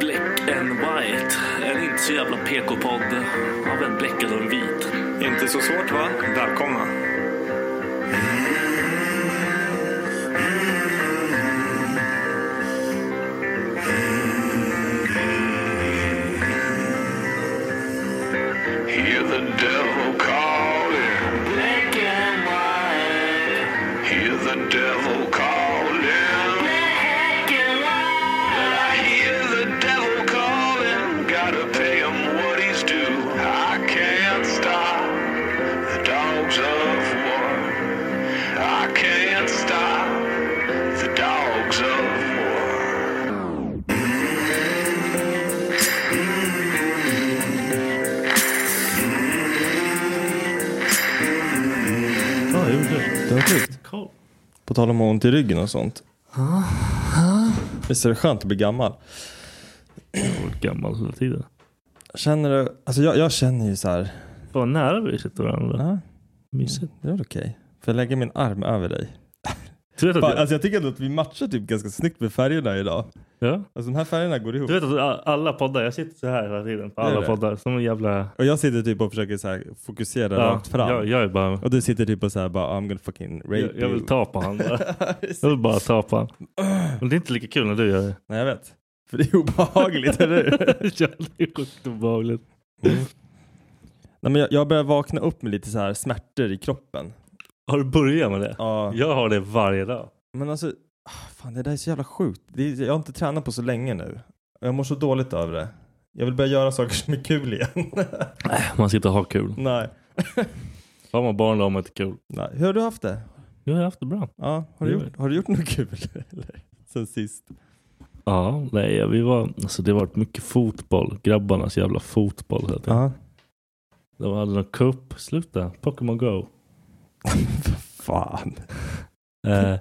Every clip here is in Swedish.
Black and White. En inte så jävla PK-podd av en bläckad och en vit. Inte så svårt va? Välkomna. Hear the devil calling. Black and white. Hear the devil calling. Black and white. I hear the devil calling. Gotta pay him what he's due. I can't stop the dogs of war. I can't stop the dogs of war. Ja, jag gjorde det. Det var sjukt. På tal om ont i ryggen och sånt. Visst är det skönt att bli gammal? Jag har varit gammal hela tiden. Känner du, alltså jag, jag känner ju så här. Vad nära vi sitter varandra. Ja, Mm, Mysigt. det är väl okej. Får jag lägga min arm över dig? Du vet att, Fan, jag, alltså jag tycker ändå att vi matchar typ ganska snyggt med färgerna idag. ja. Alltså de här färgerna går ihop. du vet att a- alla poddar, jag sitter så här hela tiden på Gör alla det? poddar. Som en jävla... Och jag sitter typ och försöker så här fokusera rakt fram. jag, jag är bara... Och du sitter typ och så här bara I'm gonna fucking rape Jag, jag vill you. ta på han bara. Jag vill bara ta på han. Men det är inte lika kul när du gör det. Nej jag vet. För det är obehagligt, eller hur? Mm. ja, det är sjukt obehagligt. Nej, men jag, jag börjar vakna upp med lite så här smärtor i kroppen. Har du börjat med det? Ja. Jag har det varje dag. Men alltså, ah, fan det där är så jävla sjukt. Det är, jag har inte tränat på så länge nu. Och Jag mår så dåligt över det. Jag vill börja göra saker som är kul igen. Man sitter och har kul. Nej. Har man barn då har man inte kul. Nej. Hur har du haft det? Jag har haft det bra. Ja, har, du Jo. gjort, har du gjort något kul? Eller? Sen sist? Ja, nej, vi var, alltså det har varit mycket fotboll. Grabbarnas jävla fotboll. Heter det. Ja. De hade någon cup. Sluta. Pokémon Go. fan. Mm. Eh,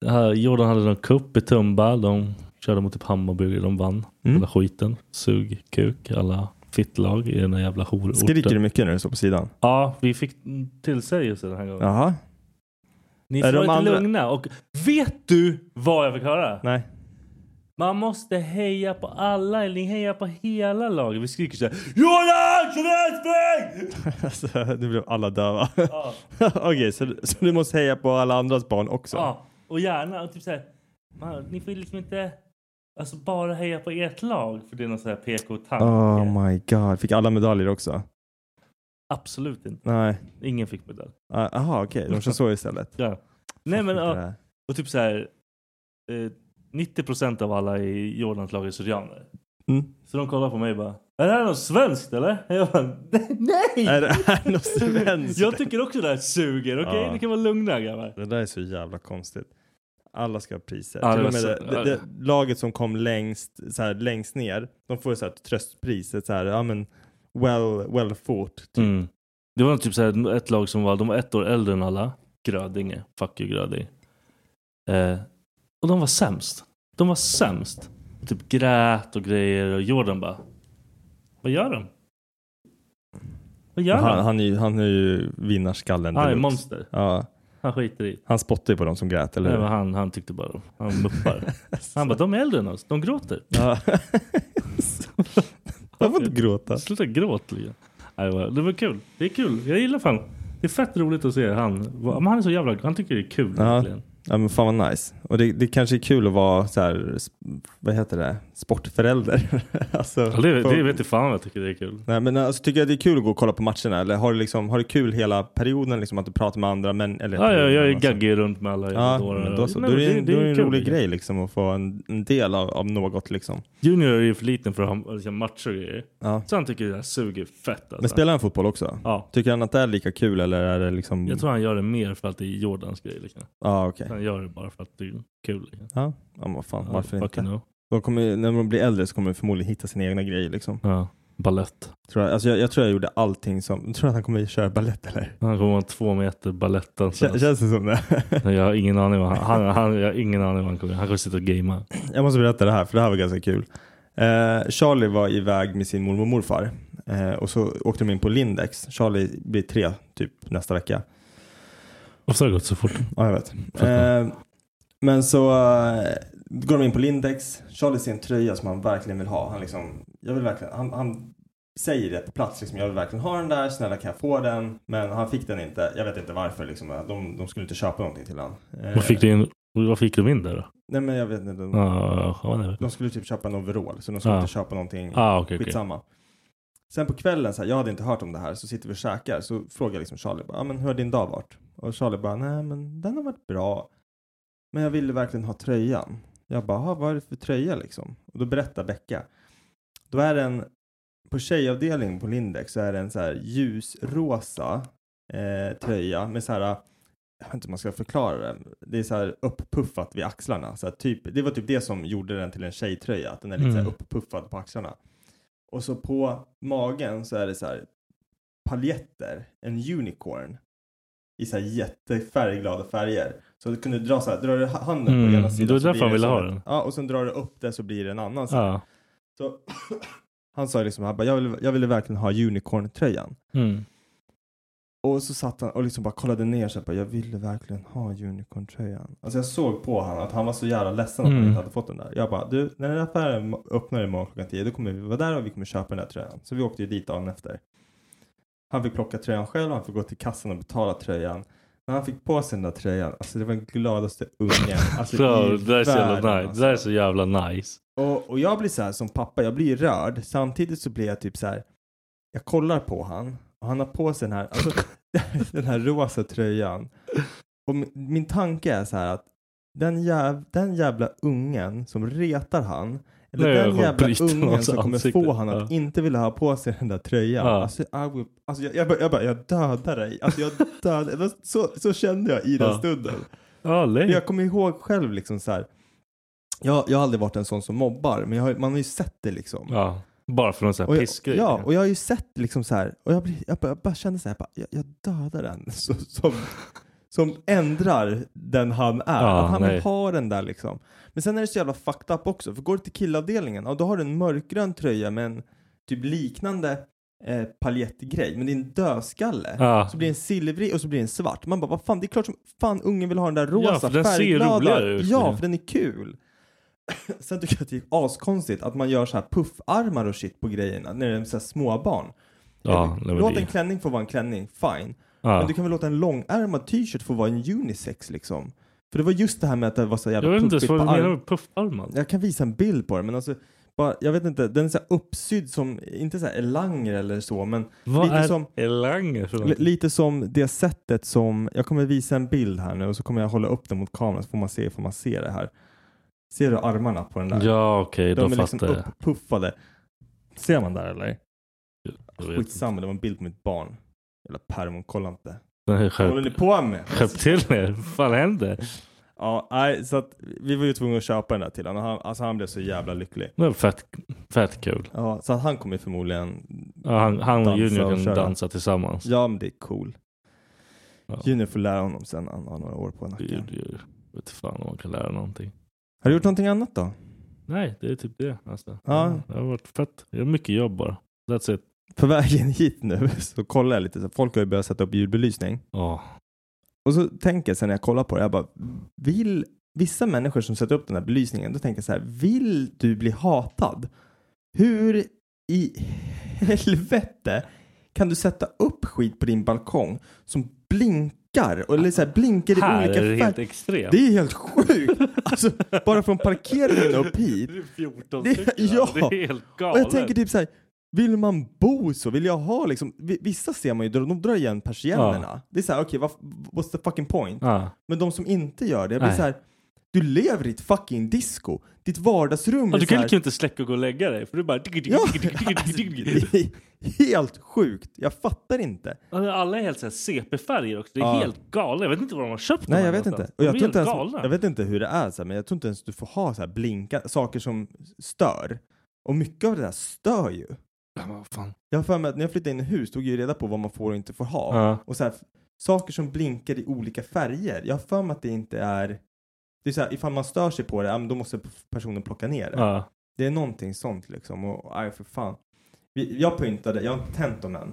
det här, Jordan hade någon cup i Tumba. De körde mot typ Hammarby. De vann. Mm. Hela skiten. Sug, kuk, alla fittlag i den där jävla hororten. Skriker du mycket när du står på sidan? Ja, vi fick mm, tillsägelse den här gången. Jaha. Ni Är får de inte andra- lugna. Och vet du vad jag fick höra? Nej. Man måste heja på alla, eller ni hejar på hela laget. Vi skriker såhär Jordan! Sjöberg, spring!" alltså, nu blev alla döva. Ja, Okej, så, du- så du måste heja på alla andras barn också? ja, och gärna och typ såhär man, Ni får ju liksom inte alltså, bara heja på ert lag för det är någon sån här PK-tanke. Oh my god. Fick alla medaljer också? Absolut inte. Nej. Ingen fick medalj. Ah, Jaha, okej. De kör så istället. Ja. Nej men Fattar inte det ja, här. och typ såhär eh, 90% av alla i Jordans lag är syrianer. Mm. Så de kollar på mig och bara Är det här något svenskt eller? Jag bara, nej! Är det här något svenskt? Jag tycker också det här suger. Okej, Ja. ni kan vara lugna grabbar. Det där är så jävla konstigt. Alla ska ha priser. Ja, det Till var och med så- det, det, det, laget som kom längst, så här, längst ner, de får ju så här tröstpriset. Så här, ja, men, well, well fought. Typ. Mm. Det var typ så här ett lag som var, de var ett år äldre än alla. Grödinge. Fuck you Grödinge. Eh, och de var sämst. De var sämst. Typ grät och grejer och Jordan bara. Vad gör de? Vad gör han, de? han, är ju, han är ju vinnarskallen. Han är deluxe. monster. Ja. Han skiter i. Han spottar ju på dem som grät, eller Nej, hur? men han, han tyckte bara om. Han muppar. han bara, de är äldre än oss. De gråter. Ja. Jag får inte gråta. Sluta gråta. Liam. Nej, det var- Det var kul. Det är kul. Jag gillar fan. Det är fett roligt att se han. Men han är så jävla... Han tycker det är kul. Ja. verkligen. ja, men fan vad nice. Och det, det kanske är kul att vara så här, sp- vad heter det, sportförälder. alltså, Ja, det, folk- det vet du fan vad jag tycker det är kul. Nej, men alltså, tycker jag det är kul att gå och kolla på matcherna? Eller har du, liksom, har du kul hela perioden? Liksom, att du pratar med andra? Men, eller, Ja, ja, jag är Alltså. gaggig runt med alla Ja, jävla dårar. men då, så. Nej, då men är det, en- då är det en kul, rolig liksom. grej liksom, att få en, en del av, av något. Liksom. Junior är ju för liten för att ha liksom, matcher och grejer. Ja. Så han tycker det här suger fett alltså. Men spelar han fotboll också? Ja. Tycker han att det är lika kul? Eller är det liksom... Jag tror han gör det mer för att det är Jordans grej. Liksom. Ja, okej. Han gör det bara för att det är kul. Liksom. Ja. ja, men vad fan, varför fucking inte? no. De kommer, ju- när de blir äldre så kommer de förmodligen hitta sina egna grejer. Liksom. Ja, ballett. Tror jag, alltså jag, jag tror jag gjorde allting som... Tror du att han kommer köra balett eller? Han kommer vara två meter alltså. balettan. Kän, känns det som det? Jag har ingen aning vad han, han, han, jag har ingen aning vad han kommer Han kommer sitta och gamea. Jag måste berätta det här, för det här var ganska kul. Eh, Charlie var iväg med sin mormor och morfar eh, och så åkte de in på Lindex. Charlie blir tre typ nästa vecka. Varför har det gått så fort? Ja, jag vet. Eh, men så eh, går de in på Lindex. Charlie ser en tröja som han verkligen vill ha. Han, liksom, jag vill verkligen, han, han säger det på plats. Liksom, jag vill verkligen ha den där. Snälla kan jag få den? Men han fick den inte. Jag vet inte varför. Liksom, de, de skulle inte köpa någonting till honom. Eh, Vad fick, du in, vad fick de in där då? Nej men jag vet inte. De, Ja, ja, ja. de skulle typ köpa en overall så de skulle Ja. inte köpa någonting. Ah, okej, okej. Skitsamma. Sen på kvällen, så här, jag hade inte hört om det här, så sitter vi och käkar. Så frågar jag liksom Charlie, bara, ah, men hur har din dag varit? Och Charlie bara, nej men den har varit bra. Men jag ville verkligen ha tröjan. Jag bara, "Ah, vad är det för tröja liksom? Och då berättar Becka. Då är den, på tjejavdelningen på Lindex så är det en så här ljusrosa eh, tröja med så här, jag vet inte hur man ska förklara det. Det är så här upppuffat vid axlarna. Så här, typ, det var typ det som gjorde den till en tjejtröja, att den är lite Mm. så här upppuffad på axlarna. Och så på magen så är det så här paljetter, en unicorn i så här jättefärgglada färger. Så du kunde dra så här, drar du ha- handen Mm, på ena det sidan var så därför blir han ville som ha ett- den. Ja, och sen drar du upp det så blir det en annan. Så, här. Ja. så han sa liksom, han bara, jag ville, jag ville verkligen ha unicorn-tröjan. Mm. Och så satt han och liksom bara kollade ner sig på jag ville verkligen ha unicorn-tröjan. Alltså jag såg på honom att han var så jävla ledsen att han Mm. inte hade fått den där. Jag bara, du, när den här affären öppnar imorgon klockan 10 då kommer vi vara där och vi kommer köpa den där tröjan. Så vi åkte ju dit dagen efter. Han fick plocka tröjan själv, han fick gå till kassan och betala tröjan. När han fick på sig den där tröjan, alltså det var den gladaste ungen alltså, Bro, i det där är så jävla världen, nice. alltså. Det där är så jävla nice. Och, och jag blir så här som pappa, jag blir rörd. Samtidigt så blir jag typ så här, jag kollar på han och han har på sig den här, alltså, den här rosa tröjan. Och min, min tanke är så här att den, jäv, den jävla ungen som retar han, eller Nej, jag den kommer jävla bryta ungen hans som kommer ansikte. få han att Ja. inte vilja ha på sig den där tröjan. Ja. Alltså, I will, alltså jag, jag, bara, jag bara, jag dödar dig. Alltså, jag dödar, det var så, så kände jag i den Ja. stunden. Ja, Men lej. Jag kommer ihåg själv liksom så här. Jag, jag har aldrig varit en sån som mobbar, men jag har, man har ju sett det liksom. Ja. Bara för någon sån och här jag, pissgrej. ja, och jag har ju sett liksom så här. Och jag, blir, jag, bara, jag bara känner så här, jag, bara, jag, jag dödar den. Så, som, som ändrar den han är. Ja, att han nej. vill ha den där liksom. Men sen är det så jävla fucked up också. För går du till killavdelningen, ja, då har du en mörkgrön tröja med en typ liknande eh, paljettgrej. Men det är en dödskalle. Ja. Så blir det en silvrig och så blir det en svart. Man bara, vad fan, det är klart som fan ungen vill ha den där rosa Ja, för den ser ju färgglada- roligare ut. Ja, för den är kul. Sen tycker jag att det är askonstigt att man gör så här puffarmar och shit på grejerna när det är så här småbarn. Ja, det var Låt det. en klänning få vara en klänning, fine. Ja. Men du kan väl låta en långärmad t-shirt få vara en unisex liksom. För det var just det här med att det var så jävla Jag vet inte ens puffigt vad du på menar arm- med puffarmar. Jag kan visa en bild på den men alltså, bara, jag vet inte, den är så här uppsydd som, inte så här elanger eller så men Vad lite är som Elanger för L- någonting? lite som det sättet som, jag kommer visa en bild här nu och så kommer jag hålla upp den mot kameran så får man se, får man se det här. Ser du armarna på den där? Ja, okej, De då är liksom fattar jag. upppuffade. Ser man där eller? Jag vet Skitsamma, det var en bild på mitt barn. Jävla pervon, kolla inte. Nej, Vad håller ni skärp, på med? skärp till er. Vad fan händer? Ja, nej, så att vi var ju tvungna att köpa den där till honom. Han, alltså han blev så jävla lycklig. Det var fett, fett kul. Ja, så att han kommer förmodligen... Ja, han, han och dansa Junior kan köra. dansa tillsammans. Ja, men det är cool. Ja. Junior får lära honom sen när han har några år på nacken. Junior. Jag vet fan om man kan lära någonting. Har du gjort någonting annat då? Nej, det är typ det. Alltså. Ja. Det har varit fett. Jag har mycket jobb bara. That's it. På vägen hit nu så kollar jag lite. Så folk har ju börjat sätta upp ljudbelysning. Ja. Och så tänker jag sen när jag kollar på det, jag bara, vill vissa människor som sätter upp den här belysningen, då tänker jag så här, vill du bli hatad? Hur i helvete kan du sätta upp skit på din balkong som blinkar? Och- Eller så här, blinkar i Här olika är det helt färger? extremt. Det är helt sjukt! Alltså, bara från parkeringen upp hit. Det är 14 Det- stycken. ja. Det är helt galet. Och jag tänker typ så här, vill man bo så? Vill jag ha liksom, vi- vissa ser man ju, de drar igen persiennerna. Det är så här, okej, vad- what's the fucking point? Ja. Men de som inte gör det, jag blir Nej. så här, du lever i ett fucking disco. Ditt vardagsrum Ja, är du så kan här, ju inte släcka och gå och lägga dig för du bara... Ja, Alltså, det är helt sjukt. Jag fattar inte. Alltså, Alla är helt så här CP-färger också. Det är Ja. helt galet. Jag vet inte var de har köpt Nej, dem jag vet inte. någonstans. Och jag, alltså, de är tror inte helt ens, galna. jag vet inte hur det är, så här, men jag tror inte ens du får ha så här blinka, saker som stör. Och mycket av det där stör ju. Ja, men vad fan. Jag har för mig att när jag flyttade in i hus tog jag ju reda på vad man får och inte får ha. Ja. Och så här, saker som blinkar i olika färger. Jag har för mig att det inte är... Det är så här, ifall man stör sig på det, ja, men då måste personen plocka ner det. Ja. Det är någonting sånt liksom. Och aj, för fan. Vi, jag pyntade, jag har inte tänt dem än.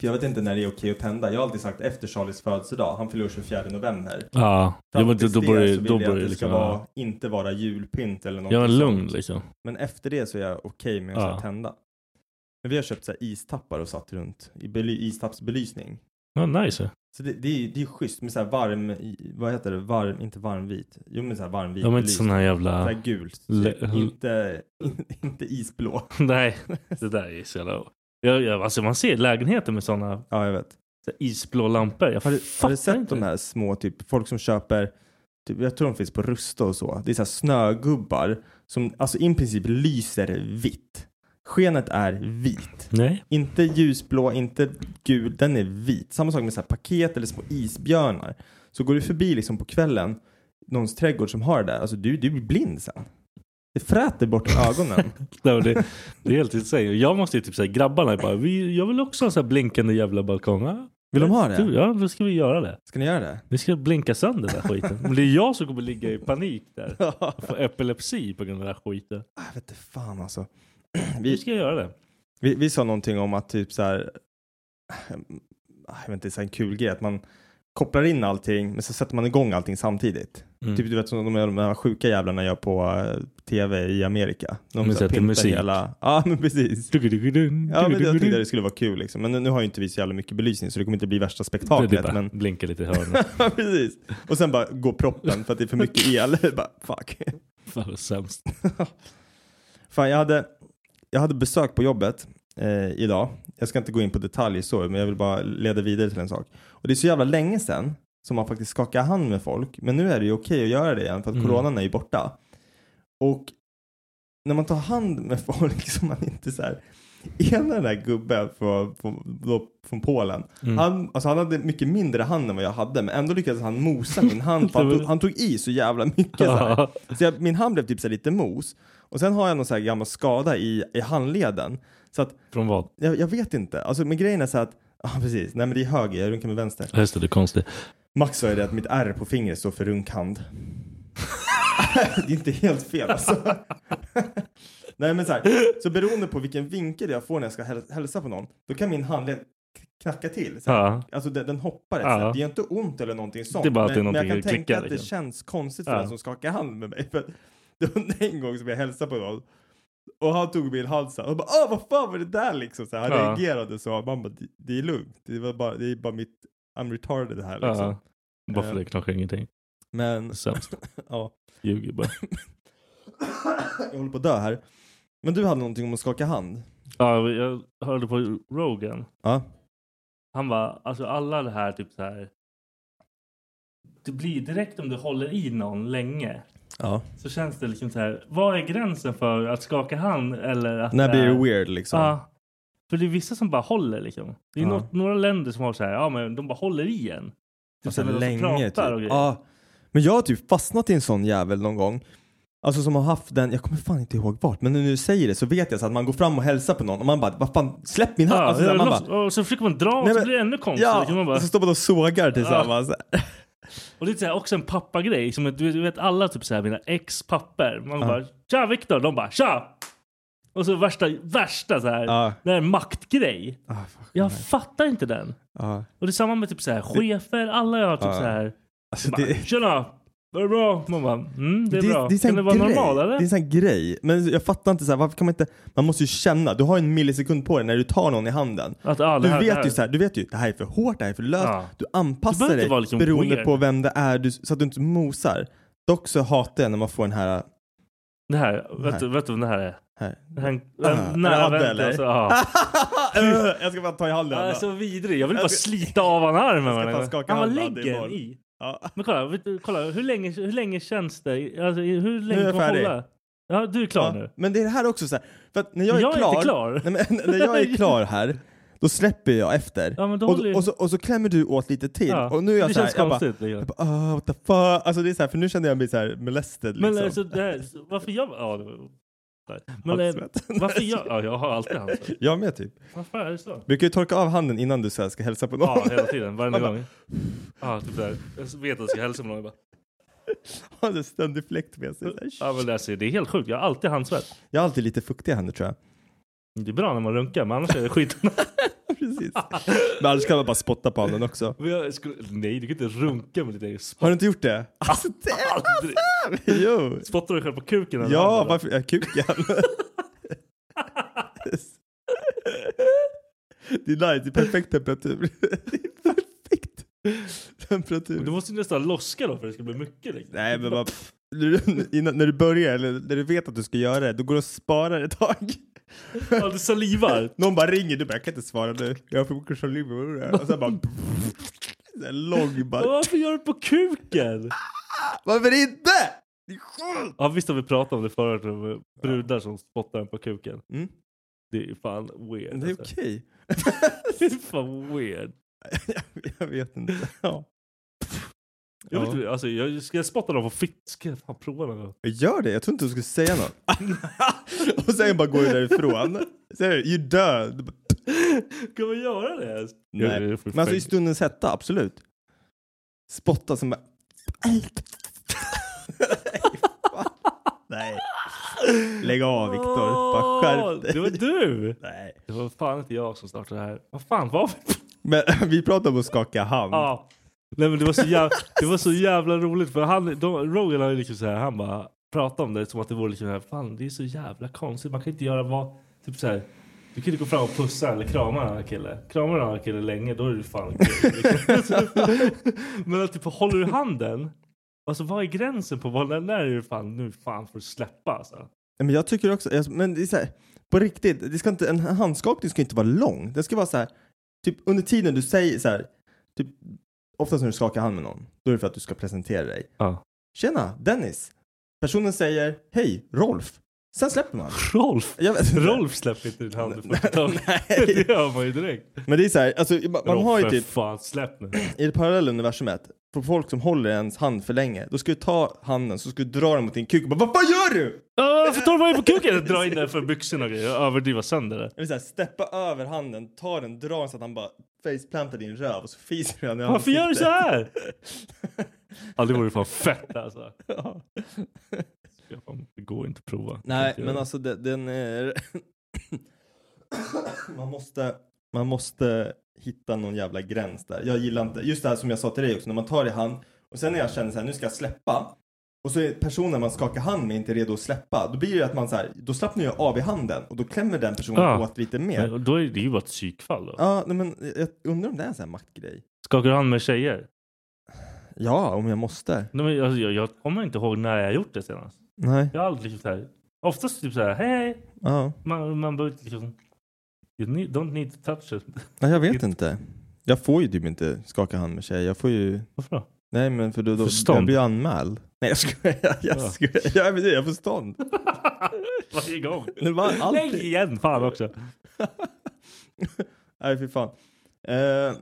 För jag vet inte när det är okej att tända. Jag har alltid sagt efter Charlies födelsedag, han fyller år 24 november. Ja. Fram Jo, men då- tills då det börjar ju- så då vill börjar jag att det det ska liksom, ja. vara, inte vara julpynt eller något. Jag var lugn sånt. liksom. Men efter det så är jag okej med att så här Ja. tända. Men vi har köpt så här istappar och satt runt i bely- istappsbelysning. Ja, nice. Så det, det, är, ju- det är ju schysst med så här varm, i- vad heter det, varm, inte varmvit. Jo men så här varmvit De är inte belysning. såna här jävla... Så här gult. Typ Le- inte, inte isblå. Nej, det där är så jävla... Jag, jag, alltså man ser lägenheter med såna Ja, jag vet. så här isblå lampor. Jag Har du, har fattar du sett inte. de här små, typ folk som köper, typ, jag tror de finns på Rusta och så. Det är så här snögubbar som alltså i princip lyser vitt. Skenet är vit. Nej. Inte ljusblå, inte gul, den är vit. Samma sak med så här paket eller små isbjörnar. Så går du förbi liksom på kvällen någons trädgård som har det där, alltså du, du blir blind sen. Det fräter bort ögonen. Nej, men det, det är helt insane. Jag måste ju typ säga grabbarna är bara, vi, jag vill också ha en sån här blinkande jävla balkong. Ja, Vill de ha du, det? Ja, då ska vi göra det. Ska ni göra det? Vi ska blinka sönder den här skiten. Men det är jag som kommer ligga i panik där. Och få epilepsi på grund av den här skiten. Jag vet inte fan alltså. Hur Vi, ska jag göra det? Vi, vi sa någonting om att typ så här, jag vet inte, så här en kul grej, att man kopplar in allting men så sätter man igång allting samtidigt. Mm. Typ du vet som de, de här sjuka jävlarna gör på eh, tv i Amerika. De Men så här sätter pyntar musik. Hela, ja men precis. Tugudugudun, Ja men jag tugudugudun. tyckte det skulle vara kul liksom. Men nu- nu har ju inte vi så jävla mycket belysning så det kommer inte bli värsta Det är typ spektaklet. bara Men... blinka lite i hörnet. precis. Och sen bara går proppen för att det är för mycket el. bara, fuck. Fan vad sämst. Fan, jag hade, jag hade besök på jobbet eh, idag. Jag ska inte gå in på detaljer så, men jag vill bara leda vidare till en sak. Och det är så jävla länge sedan som man faktiskt skakar hand med folk. Men nu är det ju okej att göra det igen för att Mm. coronan är ju borta. Och när man tar hand med folk som man inte så här. Ena den där gubben från, från, då- från Polen. Mm. Han, alltså han hade mycket mindre hand än vad jag hade. Men ändå lyckades han mosa min hand. För han, tog, han tog i så jävla mycket. Så här. Så jag, min hand blev typ så här lite mos. Och sen har jag någon så här gammal skada i, i handleden. Så att Från vad? jag, jag vet inte. Alltså men grejen är så här att, ja precis, nej men det är höger, jag runkar med vänster. Just det, du är konstig. Max sa ju det att mitt R på fingret står för runkhand. det är inte helt fel alltså. nej men så här, så beroende på vilken vinkel jag får när jag ska häl- hälsa på någon, då kan min handled knacka till. Så här. Ja. Alltså den, den hoppar ett Ja. sätt. Det gör inte ont eller någonting sånt. Det är bara att men, det är men någonting jag kan att tänka klicka, att det liksom. känns konstigt för Ja. den som skakar hand med mig. För att det var en gång som jag hälsade på någon och han tog min hand så här, och bara Åh, vad fan var det där liksom? Så här, han Ja. reagerade så. Man bara, "Det- det är lugnt. Det, var bara, det är bara mitt, I'm retarded här liksom. Ja. Eh. Bara för det knakar ingenting. Men, Sämst. ja. Ljuger bara. jag håller på att dö här. Men du hade någonting om att skaka hand. Ja, jag hörde på Rogan. Ja. Han var, alltså alla det här typ så här. Det blir direkt om du håller i någon länge Ja. Så känns det liksom så här. Vad är gränsen för att skaka hand eller att... När blir det eh, weird, liksom? Ja. För det är vissa som bara håller liksom. Det är Ja. något, några länder som har så här, ja men de bara håller i en. Typ Alltså, så här, när de länge pratar och typ. grejer. Ja. Men jag har typ fastnat i en sån jävel någon gång. Alltså som har haft den, jag kommer fan inte ihåg vart, men när du säger det så vet jag så att man går fram och hälsar på någon och man bara, vad fan, släpp min hatt! Ja, alltså, så här, ja, man loss- bara, och så försöker man dra och så Nej, men- blir det ännu konstigt. ja, Liksom man bara, och så står man och sågar tillsammans. och det är så här, också en pappagrej. Som att, du du vet alla typ så här, mina ex papper Man Ja. bara “Tja Viktor!” De bara “Tja!” Och så värsta, värsta så här. Ja. Ah, Det här är en maktgrej. jag fattar inte den. Ja. Och det är samma med typ så här chefer. Alla jag har typ Ja. så här. Alltså, bara, det- “Tjena! Är det bra?” Man bara mm, “Det är bra. så här kan det vara grej. normalt eller?” Det är en sån här grej. Men jag fattar inte så här, varför kan man inte, man måste ju känna, du har ju en millisekund på dig när du tar någon i handen. Att, ah, det du här- det vet här- ju så här, du vet ju, det här är för hårt, det här är för löst. Ja. Du Du anpassar behöver dig inte vara liksom beroende weird. på vem det är du, så att du inte mosar. Dock så hatar jag när man får den här, Det här, vet du, Här. vet du vem det här är? här. Det här är en- Ah, en nära är det Abbe, vän till oss. eller? Ja. Öh, jag ska bara ta i handen. Jag är Eh. så vidrig. Jag vill Jag bara ska- slita av honom armen. Jag ska va? fan skaka Han bara hand, det är lägger boll. i. Ja. Men kolla, vet du, kolla hur, länge, hur länge känns det? Alltså, hur Nu är länge jag kan man färdig. hålla? Ja, du är klar nu. Men det är det här också så här, för att när jag är Jag är klar, inte klar. Nej, men, när jag är klar här, då släpper jag efter. Ja, men då håller ju- och, och, så, och så klämmer du åt lite till. Ja, Och nu är jag det så här, känns jag bara, konstigt, liksom. jag bara, "Ah, what the fuck. Alltså det är så här, för nu känner jag mig så här molested Men liksom. alltså, det här, varför jag... Ja, det var- nej. men eh, Handsvett. varför jag... Ja, jag har alltid handsvett. Jag med typ. Varför är det så? Brukar ju torka av handen innan du så här ska hälsa på någon. Ja, hela tiden. Varenda Man bara, gång. Ja, typ där. Jag vet att jag ska hälsa på någon. Jag bara, Har en ständig fläkt med sig. Så här, ja, men alltså, det är helt sjukt. Jag har alltid handsvett. Jag har alltid lite fuktiga händer tror jag. Det är bra när man runkar, men annars är det skit. Precis. Men annars kan man bara spotta på handen också. Men jag skulle, nej, du kan inte runka med ditt eget sp- Har du inte gjort det? Alltså, Aldrig. jo. Spottar du själv på kuken? eller Ja, handen? varför? Ja, kuken. det är nice, det är perfekt temperatur. det är perfekt temperatur. Du måste ju nästan loska då för det ska bli mycket. Liksom. Nej men bara, pff, när du- innan, när du börjar eller när du vet att du ska göra det, då går du och sparar ett tag. Ja, du salivar. Någon bara ringer, du bara jag kan inte svara nu. Jag har för mycket saliv. Och sen bara... Så här Lång Men bara. Varför gör du på kuken? Varför inte? Det är sjukt! Ja visst har vi pratat om det förut, om brudar som spottar en på kuken. Mm. Det är fan weird. Det är alltså. okej. Det är fan weird. jag, jag vet inte. Ja. Jag, Ja. vet, inte, alltså, jag ska jag spotta dem på fitt? Ska jag fan prova någon gång? Gör det, jag tror inte du skulle säga något. och sen bara går du därifrån. Säger du, you död. Kan man göra det? ens? Nej. det är för Men alltså i fake. stundens hetta, absolut. Spotta som bara... Nej. Lägg av Viktor, bara Åh, skärp Det dig. var du! Nej. Det var fan inte jag som startade det här. Vad fan var vi? Men vi pratar om att skaka hand. Ja. Nej men det var så jävla, det var så jävla roligt för han, de, Rogan har ju liksom så här, han bara pratar om det som att det vore liksom så här, fan det är så jävla konstigt, man kan inte göra vad, typ så här, du kan inte gå fram och pussa eller krama den här killen. Kramar du den här killen länge då är du fan gay, liksom. Men att typ håller du handen, alltså vad är gränsen på vad, när, när är det fan, nu fan får du släppa alltså. Men jag tycker också, jag- men det är så här, på riktigt, det ska inte, en handskakning ska inte vara lång. Det ska vara så här, typ under tiden du säger så här, typ, oftast när du skakar hand med någon, då är det för att du ska presentera dig. Ja. Tjena, Dennis. Personen säger, hej, Rolf. Sen släpper man. Rolf! Jag vet inte. Rolf släpper inte din hand i första taget. Nej. Det gör man ju direkt. Men det är så här, alltså, man, man har ju Rolf, för typ, fan släpp nu. i det parallella universumet, för folk som håller ens hand för länge, då ska du ta handen, så ska du dra den mot din kuk och bara, vad fan gör du? Ja, för torva är på kuken! Dra in den för byxorna och grejer. Överdriva sönder det. Eller såhär, steppa över handen, ta den, dra den så att han bara faceplantar din röv och så fiser du han i Varför gör du så ansiktet. här? Ja, det vore fan fett alltså. Ja. Ska fan- Det går inte att prova. Nej, Inte men göra. alltså det, den är... man, måste, man måste hitta någon jävla gräns där. Jag gillar inte, just det här som jag sa till dig också, när man tar i hand och sen när jag känner så här, nu ska jag släppa och så är personen man skakar hand med inte redo att släppa. Då blir det att man så här, då slappnar jag av i handen och då klämmer den personen Ah. Ja. åt lite Men, mer. och då är det ju bara ett psykfall då. Ja, nej, men jag undrar om det är en sån här maktgrej. Skakar du hand med tjejer? Ja, om jag måste. Nej, men alltså, jag, jag kommer inte ihåg när jag gjort det senast. Nej. Jag har aldrig liksom så här. Oftast typ så här, hej hej. Ja. Man, man behöver inte liksom... You need, don't need to touch it. Nej, jag vet inte. Jag får ju typ inte skaka hand med tjejer. Jag får ju... Varför då? Nej men för du, då, Förstånd. jag blir anmäld. Nej jag skojar. Jag, Ja. skojar. jag, är- jag är förstånd. Varje gång. Det var alltid- Nej, igen. Fan också. Nej fy fan. Eh,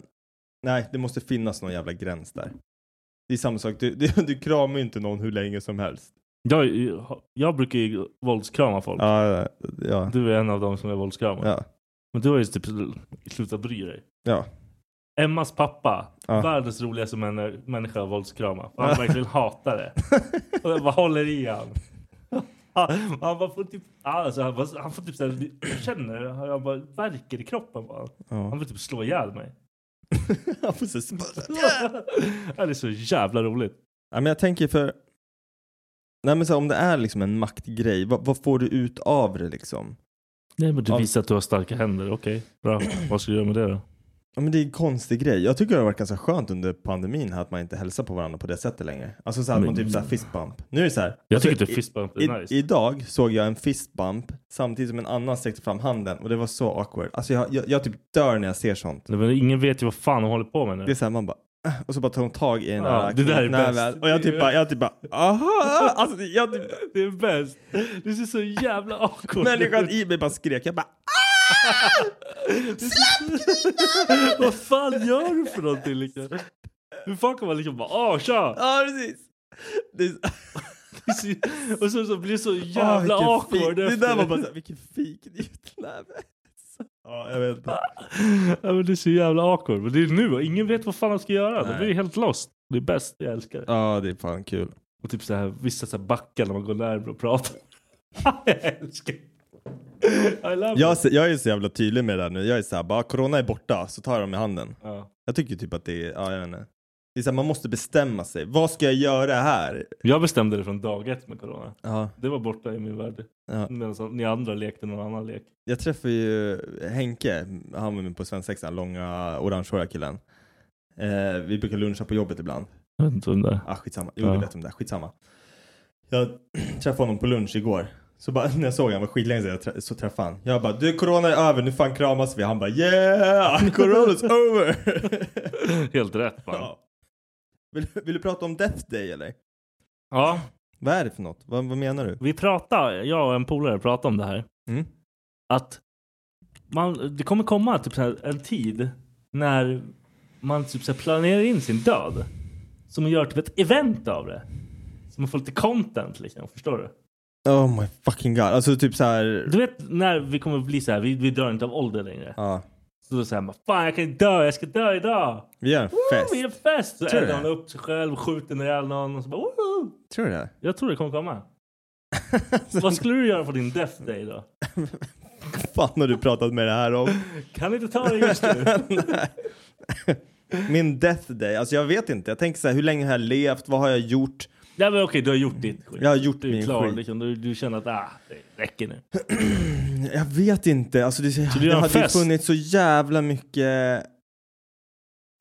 nej det måste finnas någon jävla gräns där. Det är samma sak. Du, du, du kramar ju inte någon hur länge som helst. Jag, jag brukar ju våldskrama folk. Ja, ja. Du är en av dem som är våldskramad. Ja. Men du har ju typ slutat bry dig. Ja. Emmas pappa, Ja. världens roligaste män, människa att våldskrama. För Han verkligen hatar det. Och jag bara håller i han. Han han bara får typ, alltså han, bara, han får typ såhär, jag känner jag bara värker i kroppen bara. Ja. Han vill typ slå ihjäl mig. Han får så spö- Ja, Det är så jävla roligt. Ja, men jag tänker för... Nej men så här, om det är liksom en maktgrej, vad, vad får du ut av det liksom? Nej men du Ja. visar att du har starka händer, okej. Bra. Vad ska du göra med det då? Ja men det är en konstig grej. Jag tycker det har varit ganska skönt under pandemin här att man inte hälsar på varandra på det sättet längre. Alltså så här, att Men- man typ såhär fistbump. Nu är det så här. Jag alltså, tycker inte i- fistbump är i, nice. Idag såg jag en fistbump samtidigt som en annan sträckte fram handen och det var så awkward. Alltså jag, jag, jag typ dör när jag ser sånt. Nej, men ingen vet ju vad fan de håller på med nu. Det är såhär man bara "Ah", och så bara tar de tag i den Ja, här det där är knytnäven. bäst. Och jag typ bara, jag typ bara aha! Alltså jag typ, det är bäst. Det är så jävla awkward människan i mig bara skrek. Jag bara Vad fan gör du för någonting liksom? Hur fan kan man liksom bara åh tja! Ja precis! Det är- Det är så- Och så, så blir det så jävla Åh, Ah, vilken awkward fin- Det där efter. var bara såhär, vilken fin knytnäve. Ja, jag vet inte. ja, men det är så jävla awkward. Men det är nu och ingen vet vad fan de ska göra. De Nej. blir ju helt lost. Det är bäst, jag älskar det. Ja, det är fan kul. Och typ så här, vissa så här backar när man går närmare och pratar. jag älskar det. I love Jag, it. jag är så jävla tydlig med det där nu. Jag är såhär, bara corona är borta, så tar jag dem i handen. Ja. Jag tycker typ att det är, ja jag vet inte. Det är såhär, man måste bestämma sig. Vad ska jag göra här? Jag bestämde det från dag ett med corona. Ja. Det var borta i min värld. Ja. Medan ni andra lekte någon annan lek. Jag träffade ju Henke, han var med på svensexan, långa orangehåriga killen. Eh, vi brukar luncha på jobbet ibland. Jag vet inte vem det är. Ah, skitsamma. Jo, Ja. du vet om det. är. Skitsamma. Jag träffade honom på lunch igår. Så bara, när jag såg honom, det var skitlänge sedan jag trä- så träffade han. Jag bara, du corona är över, nu fan kramas vi. Han bara, yeah! Corona's over! Helt rätt man. ja. vill, vill du prata om Death Day eller? ja. Vad är det för något? Vad, vad menar du? Vi pratade, jag och en polare pratade om det här. Mm. Att man, det kommer komma typ så här en tid när man typ så här planerar in sin död. Så man gör typ ett event av det. Så man får lite content liksom, förstår du? Oh my fucking god. Alltså typ så här. Du vet när vi kommer bli så här, vi, vi dör inte av ålder längre. Ja. Så då säger man fan jag kan ju dö, jag ska dö idag! Vi gör en fest. Vi är fest! Så Tror du eldar man det? upp sig själv, skjuter ihjäl någon och så bara Woo! Tror du det? Jag tror det kommer komma. Vad skulle du göra på din death day då? fan har du pratat med det här om? Kan inte ta det just nu. Min death day, alltså jag vet inte. Jag tänker så här, hur länge har jag levt? Vad har jag gjort? Nej men okej, du har gjort ditt skit. Jag har gjort du är min klar, skit. Liksom, du, du känner att ah, det räcker nu. Jag vet inte. Alltså det, du gör det en hade ju fest? funnits så jävla mycket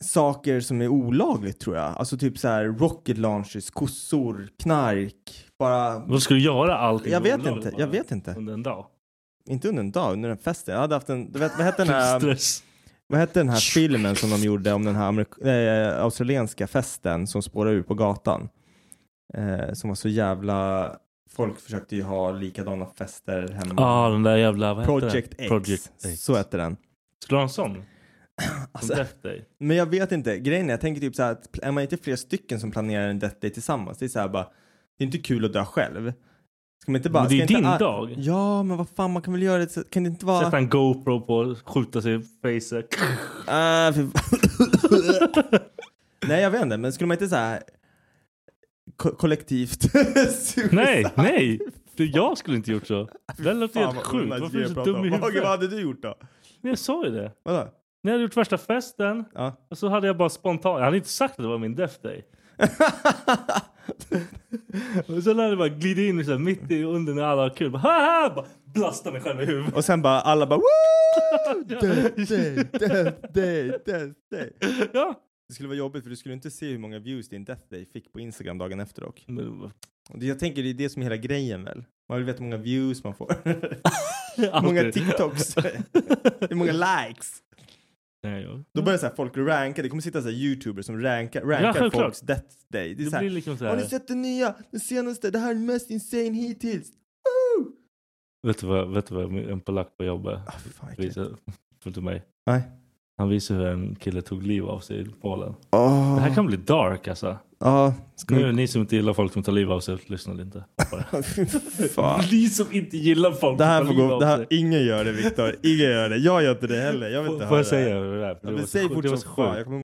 saker som är olagligt tror jag. Alltså typ så här rocket launchers, kossor, knark. Bara... Vad ska du göra allting Jag vet olagligt inte. bara Jag vet inte. Under en dag. Inte under en dag, under en fest. Jag hade haft en... Du vet, vad hette den här... Stress. Vad hette den här filmen som de gjorde om den här amerik- eh, australienska festen som spårade ur på gatan? Eh, som var så jävla... Folk försökte ju ha likadana fester hemma. Ja, ah, den där jävla... Vad heter Project den? X. Project X. Så hette den. Skulle du ha en sån? Alltså- Som death day? Men jag vet inte, grejen är, jag tänker typ så här att är man inte flera stycken som planerar en death day tillsammans, det är så här bara, det är inte kul att dö själv. Ska man inte bara... Men det är ska din inte, dag. Ja, men vad fan, man kan väl göra det, så- kan det inte vara... Sätta en GoPro på, skjuta sig i facet. Ah, fy- Nej, jag vet inte, men skulle man inte så här ko- kollektivt... nej, nej! Det, jag skulle inte gjort så. Det låter Fan, helt vad sjukt. onödigt Varför är du att så prata dum i om. Okej, huvudet? vad hade du gjort då? Men jag sa ju det. Vadå? När jag hade gjort värsta festen Ja. och så hade jag bara spontant, jag hade inte sagt att det var min death day. och så lär jag bara glida in så här, mitt i under när alla har kul. Bara, Haha! bara blasta mig själv i huvudet. Och sen bara, alla bara woo! Death day, death day, death day. ja. Det skulle vara jobbigt för du skulle inte se hur många views din death day fick på Instagram dagen efter dock. Men, Och det, jag tänker det är det som är hela grejen väl? Man vill veta hur många views man får. hur alltid. många TikToks. hur många likes. Nej, ja. Då börjar så här folk ranka, det kommer sitta så här youtubers som rankar, rankar självklart. folks death day. Det är Det så här, blir liksom så Har ni här- sett den nya? Den senaste? Det här är den mest insane hittills. Vet du vad, vet du vad en polack på jobbet Ah, visade för till mig? Nej. Han visade hur en kille tog liv av sig i Polen. Åh. Det här kan bli dark alltså. Ja, ska Nu är vi... det ni som inte gillar folk som tar liv av sig, lyssnar inte på det. Fan. Ni som inte gillar folk Det här som får tar liv gå, av det här, sig. ingen gör det Viktor, ingen gör det. Jag gör inte det heller, jag vill inte Får- höra får jag det. säga hur det är? För det var Ja, men så säg sjukt, fort det var som så fan, sjukt. jag kommer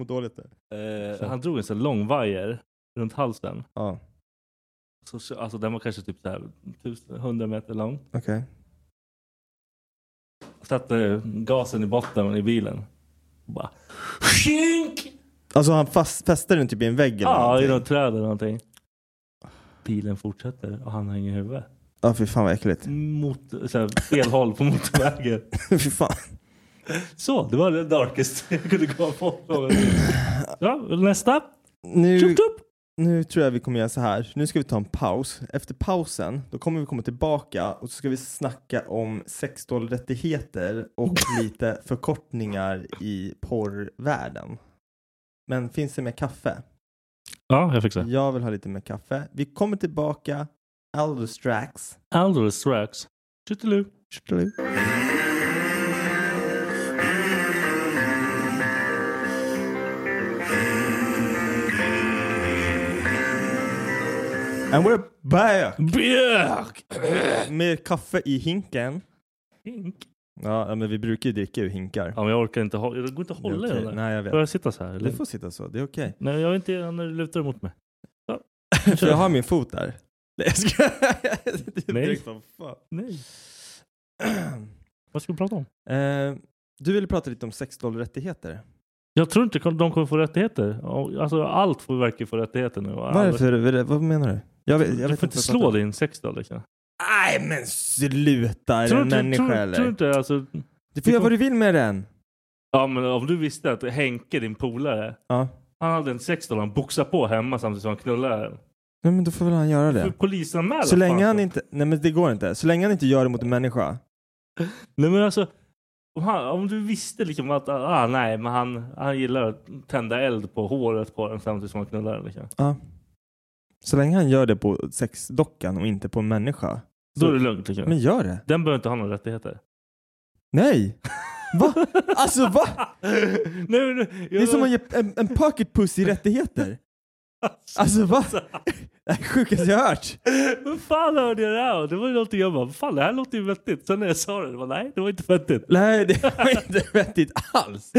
må dåligt nu. Eh, han drog en sån här lång vajer runt halsen. Ja. Så- Så, alltså den var kanske typ så här 1000 100 meter lång. Okej. Satte gasen i botten i bilen. Och bara... Skink! Alltså han fast, fäster den typ i en vägg eller Ja, i någonting? något träd eller någonting. Bilen fortsätter och han hänger i huvudet. Ja, fy fan vad äckligt. Mot, så här, fel håll på motorvägen. fy fan. Så, det var det darkaste jag kunde komma på. Ja, nästa. Nu, nu tror jag vi kommer göra så här. Nu ska vi ta en paus. Efter pausen, då kommer vi komma tillbaka och så ska vi snacka om sexualrättigheter och lite förkortningar i porrvärlden. Men finns det mer kaffe? Ja, jag fixar. Jag vill ha lite mer kaffe. Vi kommer tillbaka. Alderstrax. Aldous Rex. Tjuttilu. Tjuttilu. And we're back! Back! Med kaffe i hinken. Hink? Ja, ja, men vi brukar ju dricka ur hinkar. Ja, men jag orkar inte hålla. Det går inte att Det är hålla i okej. den där. Nej, jag vet. Får jag sitta så här? Du får sitta så, det är okej. Nej, jag är inte när du lutar emot mig. Ja. För jag har min fot där. Nej, jag skojar. Det är Nej. drygt som fan. Nej. Vad ska vi prata om? Eh, du ville prata lite om sexualrättigheter. Jag tror inte de kommer få rättigheter. Alltså allt får verkligen få rättigheter nu. Alltså, Varför? Vad menar du? Jag vet, jag du vet får inte vad jag pratar slå om. din sexdoll liksom. Nej men sluta! Är det Tror en inte- människa tror- eller? tror inte, alltså- Du får göra vad du vill med den. Ja men om du visste att Henke, din polare, Ja. han hade en sexdoll han boxade på hemma samtidigt som han knullade den. Nej men då får väl han göra Får det. polisanmäla Så länge fan. han inte... Nej men det går inte. Så länge han inte gör det mot en människa. Nej men alltså, om, han, om du visste liksom att ah, nej, men han, han gillar att tända eld på håret på den samtidigt som han knullar den. Liksom. Ja. Så länge han gör det på sexdockan och inte på en människa. Då är det lugnt. Liksom. Men gör det. Den behöver inte ha några rättigheter. Nej! Va? Alltså va? Nej, men, Det är som att ge en, en pocket pussy rättigheter. Alltså va? Det här är sjukaste jag hört. Vad fan hörde jag det här? Det var ju någonting jag bara, "Vad fan det här låter ju vettigt. Sen när jag sa det, det var, nej det var inte vettigt. Nej, det var inte vettigt alls.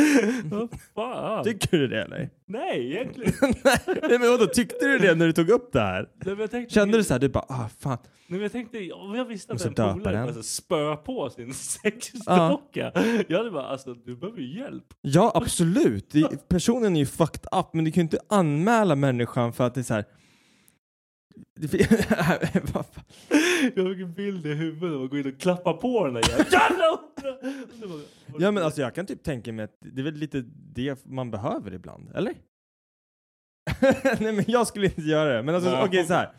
Vad fan? Tycker du det eller? Nej, egentligen. Nej men vadå, tyckte du det när du tog upp det här? Nej, men jag tänkte- Kände du så här, du bara ah fan. Nej, men jag tänkte, om jag visste att Måste en döpa polare den. alltså, spö på sin sexdocka. Jag hade bara, alltså du behöver ju hjälp. Ja absolut, det, personen är ju fucked up men du kan ju inte anmäla människan för att det är så här. Det fin- Vad fan? Jag fick en bild i huvudet av att gå in och klappa på den där jäveln. Jävla hundra! Och så bara, ja men alltså jag kan typ tänka mig att det är väl lite det man behöver ibland, eller? Nej men jag skulle inte göra det, men alltså Nej. okej så här.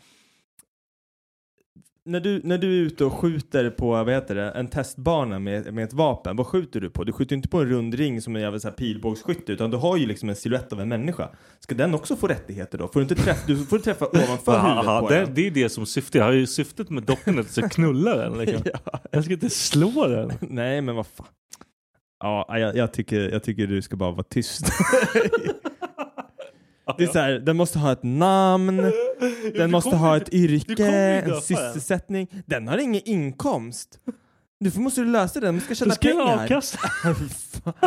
när, du, när du är ute och skjuter på vad heter det, en testbana med, med ett vapen, vad skjuter du på? Du skjuter inte på en rund ring som en jävla så här pilbågsskytte utan du har ju liksom en silhuett av en människa. Ska den också få rättigheter då? Får du inte träffa, du får träffa ovanför Aha, huvudet aha, på det, den? det är det som syftet. Jag har ju syftet med dockan att jag ska knulla den. Liksom. Jag ska inte slå den. Nej men vad fan. Ja, jag, jag, tycker, jag tycker du ska bara vara tyst. Det är så här, den måste ha ett namn, den måste ha ett yrke, kommer ju en döpa sysselsättning. Den har ingen inkomst. Du får- måste du lösa den, du ska tjäna ska jag pengar. ha a-kassa.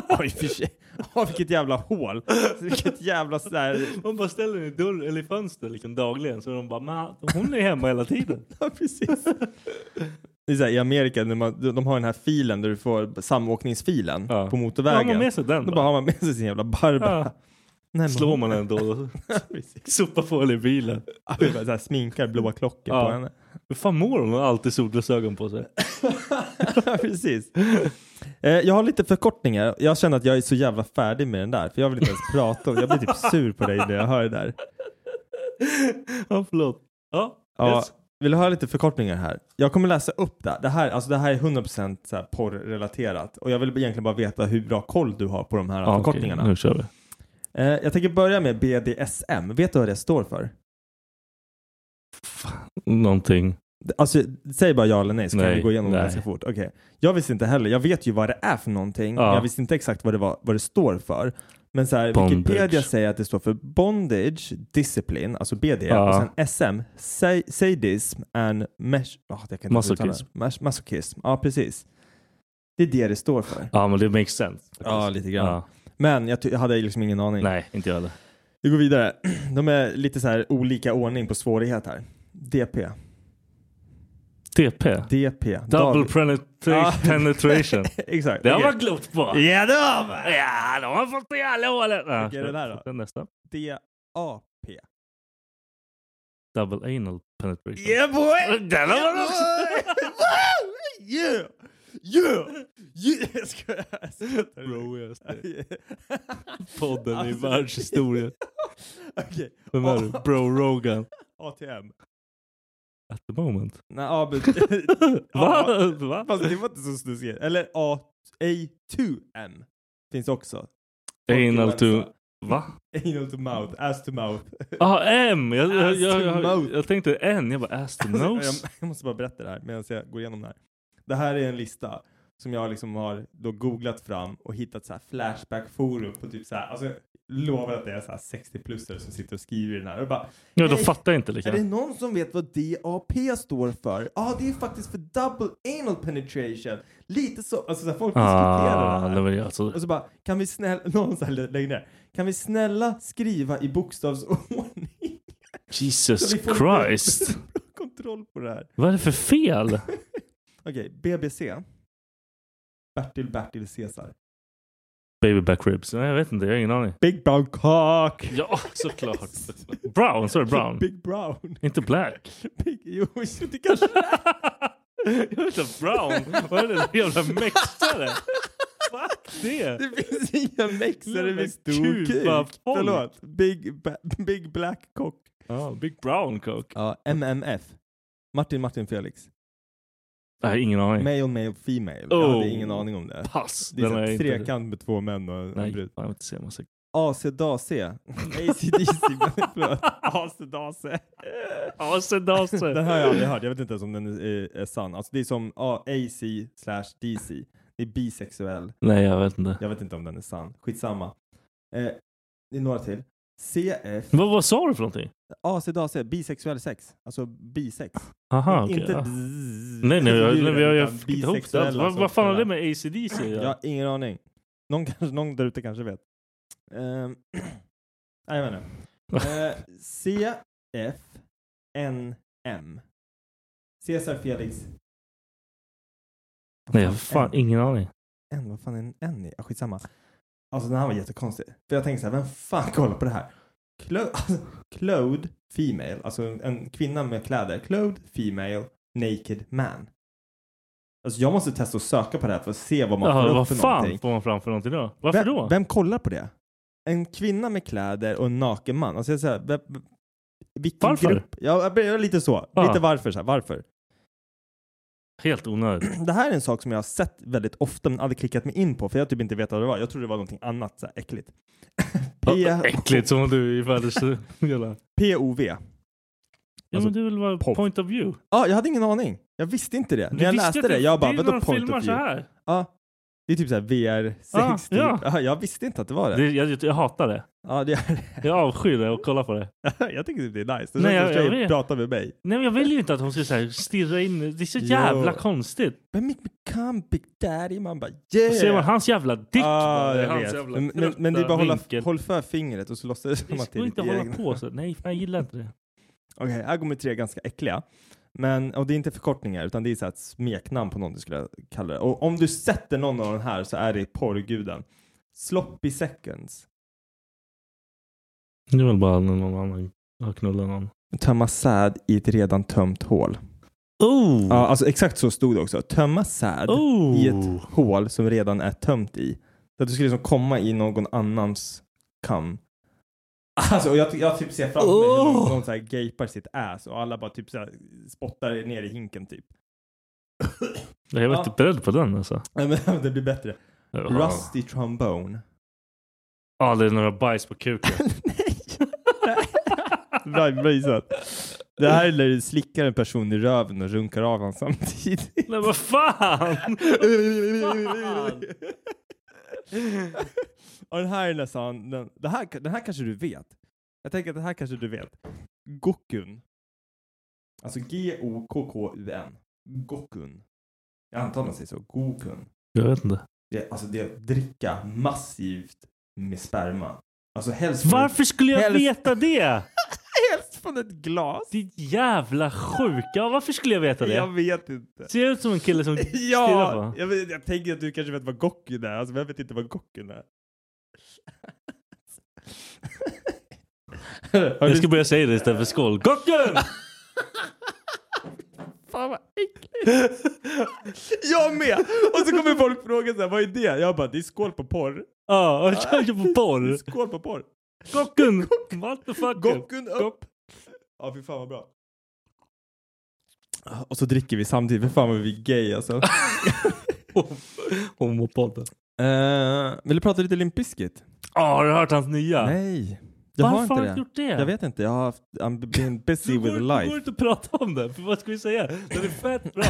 Oj, för sig. Åh, vilket jävla hål. Vilket jävla så här... Man bara ställer den i dörr eller i fönster liksom dagligen. Så de bara, "Men hon är hemma hela tiden. ja, precis. Det är så här, I Amerika, när man, de de har den här filen där du får samåkningsfilen på motorvägen. Ja, man har med sig den Då bara. bara har man med sig sin jävla Barbara. Ja. men- Slår man den då och sopar på henne i bilen. Vi bara så här sminkar blåa klockor på henne. Hur fan mår hon? Hon har alltid solglasögon på sig. Precis. Eh, jag har lite förkortningar. Jag känner att jag är så jävla färdig med den där. För jag vill inte ens prata om Jag blir typ sur på dig när jag hör det där. Ja, förlåt. Ja, Ja, yes. vill du höra lite förkortningar här? Jag kommer läsa upp det. Det här, alltså det här är 100% så här porrrelaterat. Och jag vill egentligen bara veta hur bra koll du har på de här Ja, okej. förkortningarna. Nu kör vi. Eh, jag tänker börja med BDSM. Vet du vad det står för? Någonting. Alltså, säg bara ja eller nej så kan Nej, vi gå igenom det nej. ganska fort. Okej. Jag visste inte heller. Jag vet ju vad det är för någonting. Ja. Men jag visste inte exakt vad det, var, vad det står för. Men så här, Bondage. Wikipedia säger att det står för Bondage, Discipline, alltså BD, Ja. och sen SM, sa- Sadism and mesh, oh, jag kan inte Masochism. uttala det. Mas- masochism. Ja, precis. Det är det det står för. Ja, men det makes sense. Ja, lite grann. Ja. Men jag, ty- jag hade liksom ingen aning. Nej, inte jag heller. Vi går vidare. De är lite så här olika ordning på svårighet här. DP. DP. DP. Double David. penetra- Ja. penetration. Exakt. Det har Okej. man glott på. Ja, det har man. Ja, de har fått i alla hålen. Ja, Vilken är det där då? den Nästa. D-A-P. Double anal penetration. Yeah boy! Den har man också. yeah! Yeah! yeah. Jag skojar. Jag skojar. Bro, yes, det. Podden Podden i världshistorien. Okej. Vem är du? Bro Rogan. ATM. At the moment. Nej, ja, men... Va? Ja, Va? Fast det var inte så snuskigt. Eller A- A2M. Finns också. Anal to... Folkhälsa. Va? Anal to mouth, ass to mouth. Ah, M! Jag, jag, Ass jag, to jag, mouth. jag tänkte N, jag bara ass to Alltså, nose. Jag, jag måste bara berätta det här medan jag går igenom det här. Det här är en lista som jag liksom har då googlat fram och hittat så här Flashback-forum på typ så här. Alltså, jag lovar att det är så här 60-plussare som sitter och skriver i den här. Och bara, Ja, de "Hej, fattar inte lika. Är det någon som vet vad DAP står för? Ja, ah, det är faktiskt för double anal penetration. Lite så. Alltså så här, folk diskuterar det Ah, här. det var, alltså, Och så bara, kan vi snälla, någon så här lä- lägger ner. Kan vi snälla skriva i bokstavsordning? Jesus Så vi får lite Christ. kontroll på det här. Vad är det för fel? Okej, BBC. Bertil Bertil Caesar. Baby back ribs. Nej, jag vet inte. Jag har ingen aning. Big Brown Cock! Ja, såklart. Brown, så är det brown. Big Brown. Inte black. Big, jo, det kanske Jag vet inte, brown? Vad är det för jävla mäktare? Fuck det! Det finns inga mexare Jävla med stor Kuba-folk. kuk. Förlåt. Big, ba- big Black Cock. Ja, Big brown cock. Ja, MMF. Martin Martin Felix. Nej, ingen aning. Male, male, female. Jag Oh. hade ingen aning om det. Pass. Det är Den så har jag här inte- trekant med två män och en Nej, brud. fan, jag vill inte se massa AC-DC. AC/DC, förlåt. AC-DC. Asedase. Den här har jag aldrig hört. Jag vet inte ens om den är, är sann. Alltså det är som ja, AC slash DC. Det är bisexuell. Nej, jag vet inte. Jag vet inte om den är sann. Skitsamma. Eh, det är några till. CF. Vad, vad sa du för någonting? AC-DC. Bisexuell sex. Alltså bisex. Aha, Men okej. inte ja. bzzz, Nej, nej, jag, djuren, nej, jag, jag utan fick inte ihop det. alls. bisexuella Vad, som vad fan har spelar. det med ACDC att Jag göra? har ingen aning. Någon, kanske, någon där ute kanske vet. Ehm, Nej, jag vet inte. Eh, CFNM. Cesar Felix. Nej, jag har fan N. ingen aning. N, vad fan är en N i? Ja, Skitsamma. Alltså den här var Ah. jättekonstig. För jag tänkte så här, vem fan kollar på det här? Clo- alltså, Clothed Female, alltså en, en kvinna med kläder. Clothed Female Naked Man. Alltså jag måste testa att söka på det här för att se vad man Jaha, får upp vad för fan någonting. får man fram för någonting då? Varför vem, då? Vem kollar på det? En kvinna med kläder och en naken man. Alltså jag säger, vem, vilken Varför? Grupp? Ja, jag börjar lite så. Ja. Lite varför så här. Varför? Helt onödigt. Det här är en sak som jag har sett väldigt ofta men aldrig klickat mig in på för jag har typ inte vetat vad det var. Jag trodde det var någonting annat, så här äckligt. Ja, äckligt som om du är världens jävla... POV. Ja men det är väl bara point of view? Ja, jag hade ingen aning. Jag visste inte det. När jag visste läste att det, det- jag bara, det är när vadå de point filmar of view? så här. Ja. Det är typ såhär VR-sex. Ah, ja. typ. ja. Jag visste inte att det var det. Det, jag, jag hatar det. Ja, det Jag avskyr det och kollar på det. jag tycker typ det är nice. Nej, Det Nej, jag- jag, jag vet. pratar med mig. Nej men jag vill ju inte att hon ska så här stirra in. Det är så Jo. jävla konstigt. But make me come big daddy. Man bara Och yeah. ser man hans jävla dick. Ja, bara, Ah, jag hans vet. jävla men, men, men det är bara trötta hålla, vinkel. håll för fingret och så låtsas det som Vi att det är ska inte ditt hålla eget. på så. Nej, fan, jag gillar inte det. Okej, här kommer tre ganska äckliga. Men, och det är inte förkortningar utan det är så här ett smeknamn på någon du skulle kalla det. Och om du sätter någon av den här så är det porrguden. Sloppy seconds. Det är väl bara när någon annan har knullat någon. Tömma säd i ett redan tömt hål. Oh! Ja, alltså exakt så stod det också. Tömma säd Oh. i ett hål som redan är tömt i. Så att du skulle liksom komma i någon annans kam. Alltså, och jag, jag typ ser framför mig hur någon, någon så här gapar sitt ass och alla bara typ så här spottar ner i hinken typ. Jag var Ja. inte beredd på den alltså. Nej, men det blir bättre. Ja. Rusty trombone. Ja, det är några bajs på kuken. Raggbajsat. Det här är när du slickar en person i röven och runkar av honom samtidigt. Nej, vad fan! Fan! och den här är nästan, den, det här, den här kanske du vet. Jag tänker att det här kanske du vet. Gokun. Alltså G-O-K-K-U-N. Gokun. Jag antar man säger så. Gokun. Jag vet inte. Det, alltså det är att dricka massivt med sperma. Alltså helst från- Varför skulle jag helst- veta det? Helst från ett glas. Ditt jävla sjuka. Varför skulle jag veta det? Jag vet inte. Ser jag ut som en kille som stirrar på? Ja, jag, vet, jag tänker att du kanske vet vad Gokun är. Alltså vem vet inte vad Gokun är? Jag ska börja säga det istället för skål. Gocken! Fan vad äckligt. jag med! Och så kommer folk fråga så här, vad är det? Jag bara, det är skål på porr. Ja, jag kör ju på Det är porr. skål på porr. Gocken! What the fuck? Gokun upp! Ja, fy fan vad bra. Och så dricker vi samtidigt, för fan vad vi är gay alltså. Homopodden. Eh, vill du prata lite Limp Bizkit? Ja, har du hört hans nya? Nej. Jag Varför har inte har det. han gjort det? Jag vet inte, jag har haft, I'm been busy Det går, with det life. går inte att prata om den, för vad ska vi säga? Den är fett bra.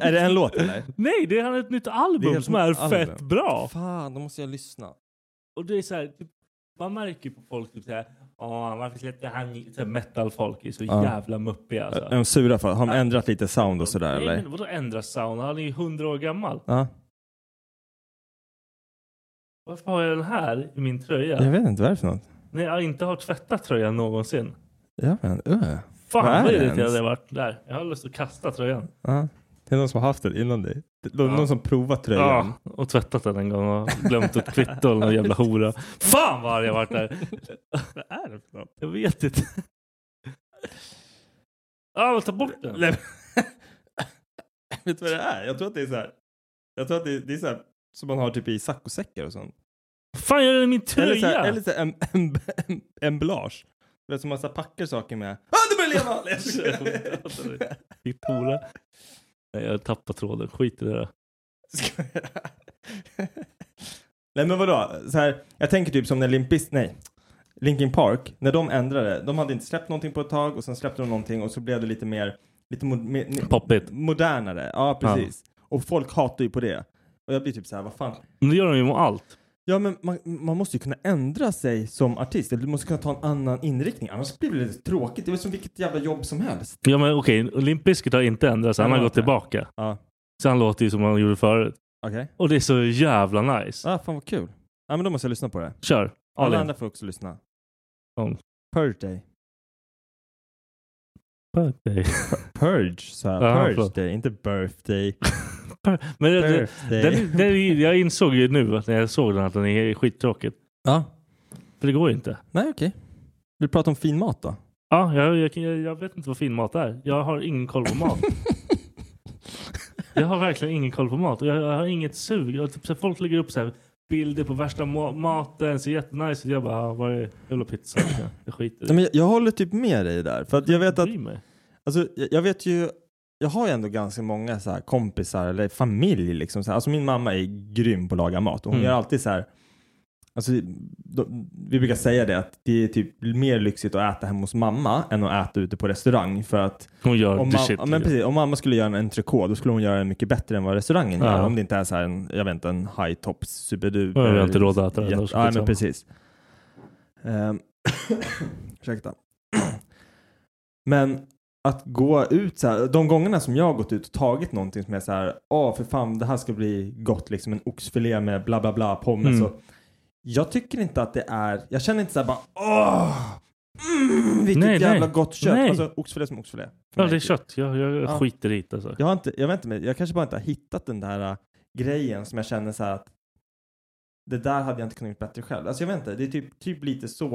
är det en låt eller? Nej, det är han ett nytt Det är album helt som är nytt album. fett bra. Fan, då måste jag lyssna. Och det är så här, typ, man märker ju på folk typ såhär, åh varför släppte han i-" så här, metal-folk är så Ja. jävla muppiga alltså. Är de sura för Har de ändrat lite sound och sådär Nej eller? men vadå ändra sound? Han är ju hundra år gammal. Ja, Varför har jag den här i min tröja? jag vet inte vad det är för något. När jag inte har tvättat tröjan någonsin. Jag vet, uh. Fan Vad är vad det irriterad ens? jag varit där. Jag har lust att kasta tröjan. ja. Det är någon som har haft den innan dig. Det är någon Ja. som provat tröjan. Ja, Ah, och tvättat den en gång och glömt ett kvitto eller någon jävla hora. Fan vad arg jag varit där. vad är det för något? Jag vet inte. Ja, men ta bort den. Nej, men- Vet du vad det är? Jag tror att det är så här. Jag tror att det, det är så här som man har typ i saccosäckar och sånt. Fan gör den i min Eller så tröja? här, eller så här em, em, em, emblage. Du vet som man så här packar saker med. Ah, det börjar leva! Jag Alltså, skojar. Ditt hora. Nej, jag tappar tråden. Skit i det där. Skojar. Nej men vadå? Så här, jag tänker typ som när Limp Biz- nej. Linkin Park, när de ändrade, de hade inte släppt någonting på ett tag och sen släppte de någonting och så blev det lite mer, lite mo- mer, mer- Poppigt. modernare. Ja, precis. Och folk hatar ju på det. Och jag blir typ så här, vad fan. Men det gör de ju med allt. Ja, men man, man måste ju kunna ändra sig som artist. Eller du måste kunna ta en annan inriktning, annars blir det lite tråkigt. Det är väl som vilket jävla jobb som helst. Ja men okej, Limp Bizkit har inte ändrats. Han Nej, har det gått har inte. tillbaka. Ja. Så han låter ju som han gjorde förut. Okej. Och det är så jävla nice. Ah, fan vad kul. Ja, men då måste jag lyssna på det. Kör. Alla All in. andra får också lyssna. Om. Purge Day. Birthday. Purge sa jag. Ja, Purge förlåt. Day, inte birthday. Men det, det, birthday. den, den, jag insåg ju nu att när jag såg den att den är skittråkig. Ja. För det går ju inte. Nej, okej. Vill du prata om fin mat då? Ja, jag, jag, jag, jag vet inte vad fin mat är. Jag har ingen koll på mat. jag har verkligen ingen koll på mat. Och jag, jag har inget sug. Jag, typ, så här, folk lägger upp så här, bilder på värsta ma- maten. Ser jättenice ut. Jag bara, ah, vad är jävla pizza? Jag skiter i Nej, det. men jag, jag håller typ med dig där. För att jag vet att, Bryr mig. alltså, jag, jag vet ju jag har ju ändå ganska många så här kompisar eller familj. Liksom, så här. Alltså min mamma är grym på att laga mat och hon Mm. gör alltid så här. Alltså, då, vi brukar säga det att det är typ mer lyxigt att äta hemma hos mamma än att äta ute på restaurang för att Hon gör om, the mam- shit, ja, men liksom. precis, om mamma skulle göra en entrecote då skulle hon göra den mycket bättre än vad restaurangen Ja. gör. Om det inte är så här en, jag vet inte, en high top superduper. Ja, vi har inte råd att äta den, liksom. jätte- då ska Ja, vi men ta. precis. Ehm, ursäkta. Men att gå ut så här, de gångerna som jag har gått ut och tagit någonting som är så här, ja för fan det här ska bli gott liksom en oxfilé med bla bla bla pommes Mm. och jag tycker inte att det är, jag känner inte så här bara åh, mm, vilket Nej, nej. jävla gott kött. Nej. Alltså oxfilé som oxfilé. För Ja, mig det är typ. kött. Jag, jag Ja. skiter i det. Alltså. Jag, har inte, jag vet inte, men jag kanske bara inte har hittat den där äh, grejen som jag känner så här att det där hade jag inte kunnat göra bättre själv. Alltså jag vet inte, det är typ, typ lite så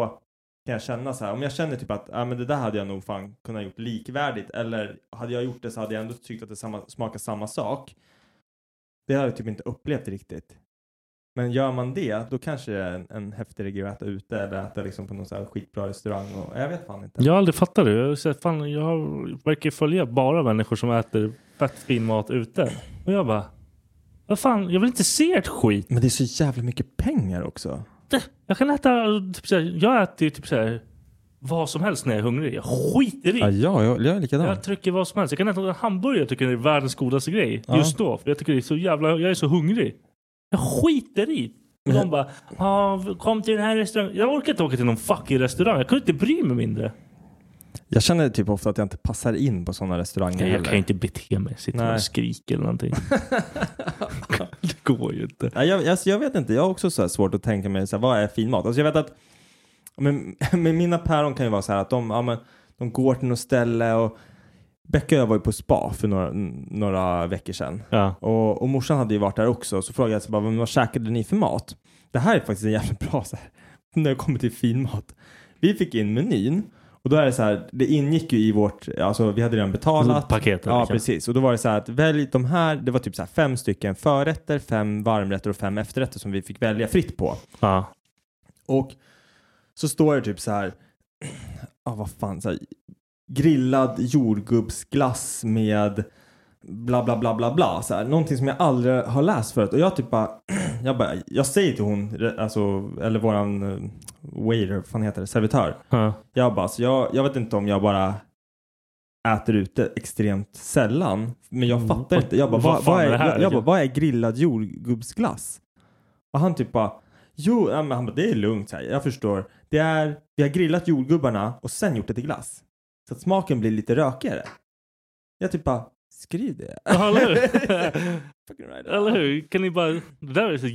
kan jag känna så här. Om jag känner typ att ah, men det där hade jag nog fan kunnat gjort likvärdigt eller hade jag gjort det så hade jag ändå tyckt att det samma, smakar samma sak. Det har jag typ inte upplevt riktigt. Men gör man det, då kanske det är en, en häftigare grej att äta ute eller äta liksom på någon så här skitbra restaurang. Och, jag vet fan inte. Jag har aldrig fattat det. Jag, har sett, fan, jag har- verkar ju följa bara människor som äter fett fin mat ute. Och jag bara, vad fan, jag vill inte se ert skit. Men det är så jävla mycket pengar också. Jag kan äta, typ, så här, jag äter ju typ så här, vad som helst när jag är hungrig. Jag skiter i. Ja, jag, jag, jag är likadan. Jag trycker vad som helst. Jag kan äta en hamburgare. Jag tycker det är världens godaste grej. Ja. Just då. För jag tycker det är så jävla... Jag är så hungrig. Jag skiter i. Och de bara ah, “Kom till den här restaurangen”. Jag orkar inte åka till någon fucking restaurang. Jag kunde inte bry mig mindre. Jag känner typ ofta att jag inte passar in på sådana restauranger Nej, jag heller. kan ju inte bete mig. Sitta Nej. och skrika eller någonting. det går ju inte. Nej, jag, alltså, jag vet inte, jag har också så här svårt att tänka mig så här, vad är fin mat? Alltså, jag vet att men, men mina päron kan ju vara så här att de, ja, men, de går till något ställe och Becka och jag var ju på spa för några, n- några veckor sedan. Och, och morsan hade ju varit där också. Så frågade jag så bara, "Men vad käkade ni för mat? Det här är faktiskt en jävla bra så här, när det kommer till finmat. Vi fick in menyn och då är det så här, det ingick ju i vårt, alltså vi hade redan betalat. Paketet, Ja, liksom. precis. Och då var det så här att välj de här, det var typ så här fem stycken förrätter, fem varmrätter och fem efterrätter som vi fick välja fritt på. Ja. Och så står det typ så här, ja vad fan, så här, grillad jordgubbsglass med bla bla bla bla bla. Så här, någonting som jag aldrig har läst förut. Och jag typ bara, jag, bara, jag säger till hon, alltså, eller våran eh, waiter, vad fan heter det, servitör. Ja. Jag bara, så jag, jag vet inte om jag bara äter ute extremt sällan. Men jag fattar inte. Jag bara, Mm. Vad vad, fan vad, är är, det här, jag, jag bara, liksom? vad är grillad jordgubbsglass? Och han typ bara, jo, ja, men han bara, det är lugnt. Så här. Jag förstår. Det är, vi har grillat jordgubbarna och sen gjort det till glass. Så att smaken blir lite rökigare. Jag typ bara, skriv det. Ja, eller hur? Fucking right. Eller hur? Kan ni bara... Det där är så...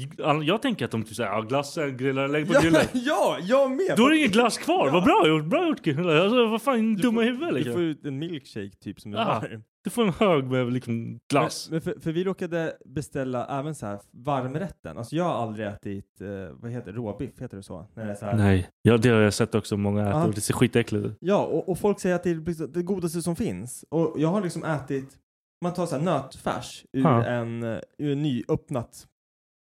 Jag tänker att de typ såhär, ja glassen, grillar, lägg på grillen. ja, jag med! Då är det ingen glass kvar. Vad bra gjort. Bra gjort killar. Alltså, vad fan, dumma i huvudet Du liksom. får ut en milkshake typ som är Ja. varm. Du får en hög med liksom glass. Men, men för, för vi råkade beställa även så här varmrätten. Alltså jag har aldrig ätit, eh, vad heter det, råbiff, heter det så? När det är så här. Nej, ja, det har jag sett också många äta Ja. och det ser skitäckligt ut. Ja, och, och folk säger att det är liksom det godaste som finns. Och jag har liksom ätit, man tar så här nötfärs ur Ja. en, eh, ur en nyöppnat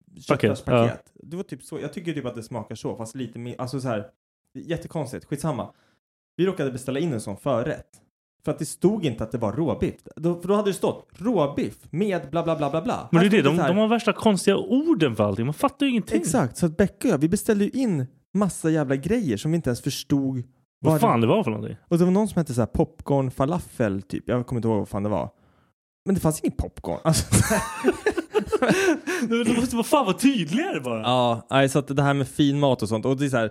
Paket, köttfärspaket. Det var typ så, jag tycker typ att det smakar så, fast lite mer, alltså så här, det är jättekonstigt, skitsamma. Vi råkade beställa in en sån förrätt. För att det stod inte att det var råbiff. Då, för då hade det stått råbiff med bla bla bla bla bla. Men det Här är det, stod de, så här- de har värsta konstiga orden för allting. Man fattar ju ingenting. Exakt, så att Becka och jag, vi beställde ju in massa jävla grejer som vi inte ens förstod Vad fan det var för någonting. Och det var någon som hette så här popcorn falafel typ, jag kommer inte ihåg vad fan det var. Men det fanns ingen popcorn. Alltså, De måste vara fan vara tydligare bara. ja, nej, så att det här med fin mat och sånt. Och det är så här,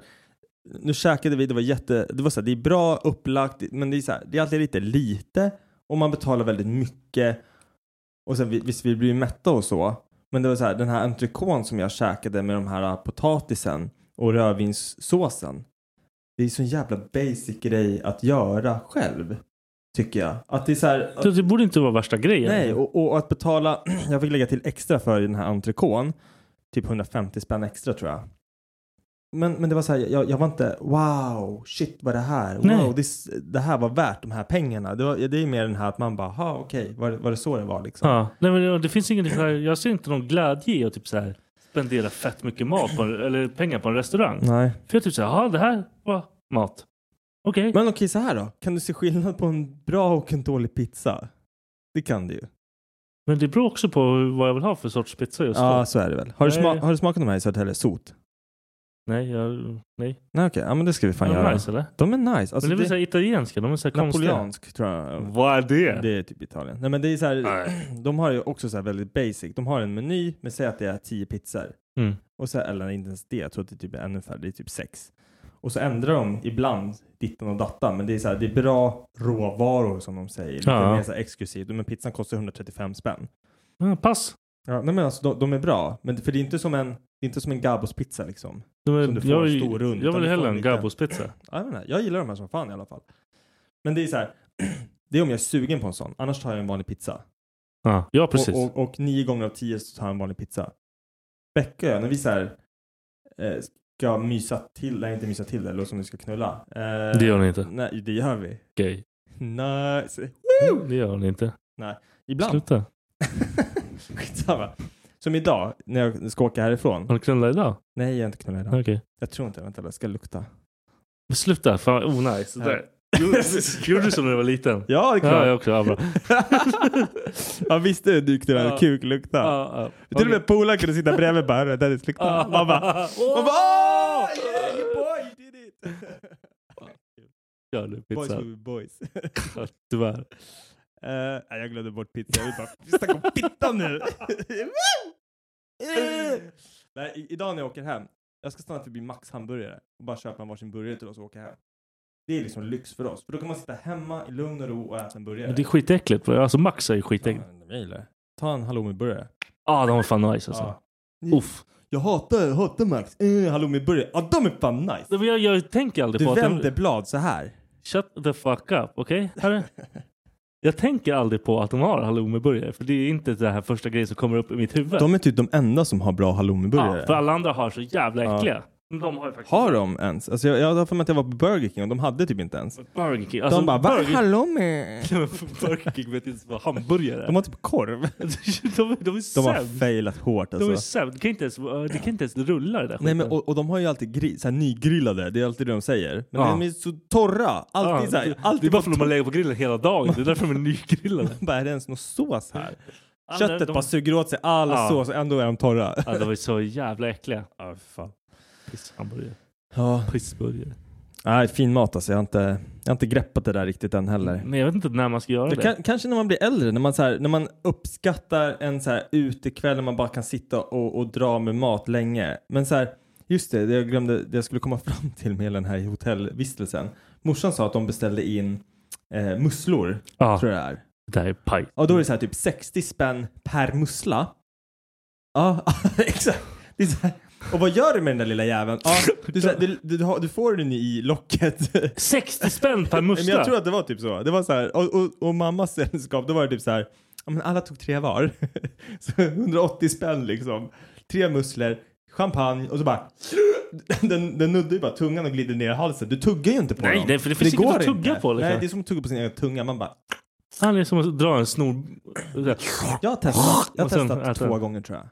nu käkade vi, det var jätte, det var så här, det är bra upplagt, men det är så här, det är alltid lite lite och man betalar väldigt mycket. Och sen vi- visst, vi blir ju mätta och så. Men det var så här, den här entrecôten som jag käkade med de här äh, potatisen och rödvinssåsen. Det är så en jävla basic grej att göra själv. Tycker jag. Att det är så här, Det, det borde inte vara värsta grejen. Nej, och, och att betala, jag fick lägga till extra för den här entrecôten. Typ 150 spänn extra tror jag. Men, men det var så här, jag, jag var inte wow, shit vad det här, Nej. wow, this, det här var värt de här pengarna. Det, var, det är mer den här att man bara, ha okej, var, det- var det så det var liksom? Ja. Nej, men det, det finns ingenting så här, jag ser inte någon glädje i att typ så här, spendera fett mycket mat på en, eller pengar på en restaurang. Nej. För jag typ såhär, ja det här var mat. Okej. Men okej, så här då. Kan du se skillnad på en bra och en dålig pizza? Det kan det ju. Men det beror också på vad jag vill ha för sorts pizza just Ja, då. så är det väl. Har du, Nej. sma- har du smakat de här i Södertälje? Sot? Nej, jag, nej. Nej, okej. Ja, men det ska vi fan De är göra. nice, eller? De är nice. Alltså, men det är väl det- såhär italienska? De är såhär konstiga. Napoleansk tror jag. Vad är det? Det är typ Italien. Nej men det är så här, de har ju också så här väldigt basic. De har en meny med säg att det är tio pizzor. Mm. Och så, eller inte ens det, jag tror att det är typ ännu färre, det är typ sex. Och så ändrar de ibland dittan och dattan, men det är så här, det är bra råvaror som de säger. Lite Ja. mer så här exklusivt. Men pizzan kostar 135 spänn. Ja, Ah, pass. Ja, nej men alltså de, de är bra, men för det är inte som en, det är inte som en Gabbos-pizza liksom. De är, som du får jag, en stor rund. jag utan vill du får hellre en en liten- Gabbos-pizza. Ja, jag, menar, jag gillar de här som fan i alla fall. Men det är så här, det är om jag är sugen på en sån. Annars tar jag en vanlig pizza. Ja, ja, precis. Och, och, och nio gånger av tio så tar jag en vanlig pizza. Becka och jag, när vi så här, eh, ska mysa till, nej inte mysa till det, eller som vi ska knulla. Eh, Det gör ni inte. Nej, det gör vi. Gay. Nice. Det gör ni inte. Nej, ibland. Sluta. Skitsamma. Som idag, när jag ska åka härifrån. Har du knullat idag? Nej, jag har inte knullat idag. Okej. Jag tror inte, vänta, jag ska lukta. Men Sluta. Fan, oh nice. Ja. Där. Gjorde- Gjorde du som när du var liten? Ja, det är klart. Ja, jag också. Ja, bra. Ja visst är det dykt det där Ja. kuk lukta. Ja, ja. Till och med polaren kunde sitta bredvid och bara "Hörru, där det luktar. Ja. Man bara Åh! man bara, "Åh, yeah, you boy, you did it." Kör nu Boys pizza. will be boys. Ja, Tyvärr. Eh, nej, jag glömde bort pizza. Jag vill bara vi snackar om pitta nu. Eh. nej, i- idag när jag åker hem. Jag ska stanna förbi Max hamburgare och bara köpa en varsin burgare till oss och åka hem. Det är liksom lyx för oss. För då kan man sitta hemma i lugn och ro och äta en burgare. Men det är skitäckligt. Alltså Max är ju skitäckligt. Jag gillar. Ta en halloumiburgare. Ja, ah, de var fan nice alltså. Ja. Uff. Jag hatar, jag hatar Max. Eh, halloumiburgare. Ja, de är fan nice. Nej, men Jag, jag tänker aldrig på Du att... vänder blad så här. Shut the fuck up, okej? Här- Jag tänker aldrig på att de har halloumiburgare. För det är inte det här första grejen som kommer upp i mitt huvud. De är typ de enda som har bra halloumiburgare. Ja, för alla andra har så jävla Ja. äckliga. Men De har ju faktiskt... Har de ens? Alltså jag, jag har för mig att jag var på Burger King och de hade typ inte ens. Burger King. Alltså, de bara, vad är Burger- halloumi? Nej, men Burger King vet inte ens vad hamburgare är. De har typ korv. de, de är De har sämst. failat hårt De är alltså. sämst. Det kan inte ens, det kan inte ens rulla det där Nej, skiten. men, och, och de har ju alltid gri- så här nygrillade, det är alltid det de säger. Men Ja. de är så torra. Alltid Ja, så här, det- det är alltid bara för på att de har to- legat på grillen hela dagen. Det är därför de är nygrillade. bara, är det ens någon sås här? Ja, Köttet men de- bara suger åt sig all Ja. sås och ändå är de torra. Ja, de är så jävla äckliga. Ja, fan. Pisshamburgare. Ja. Pissburgare. Nej, fin mat alltså. Jag har, inte, jag har inte greppat det där riktigt än heller. Men jag vet inte när man ska göra det. Det kan, kanske när man blir äldre, när man, så här, när man uppskattar en så här utekväll när man bara kan sitta och, och dra med mat länge. Men så här, just det, det jag glömde, det jag skulle komma fram till med den här hotellvistelsen. Morsan sa att de beställde in eh, musslor, Ja. tror jag det är. Det här är paj. Och då är det så här typ 60 spänn per mussla. Ja, exakt. Det är så här. Och vad gör du med den där lilla jäveln? Ja, du, så här, du, du, du, har- du får den i locket. 60 spänn per Nej, Men mussla. jag tror att det var typ så. Det var så här, och, och, och mammas sällskap, då var det typ så här, ja, men alla tog tre var. så 180 spänn liksom. Tre musslor, champagne och så bara, den, den nuddar ju bara tungan och glider ner i halsen. Du tuggar ju inte på Nej, dem. nej, för det finns inget går att tugga inte. på, liksom. Nej, det är som att tugga på sin egen tunga. Man bara, Han är som att dra en snor... så här. jag har testat, jag har Och sen testat äta. två gånger tror jag.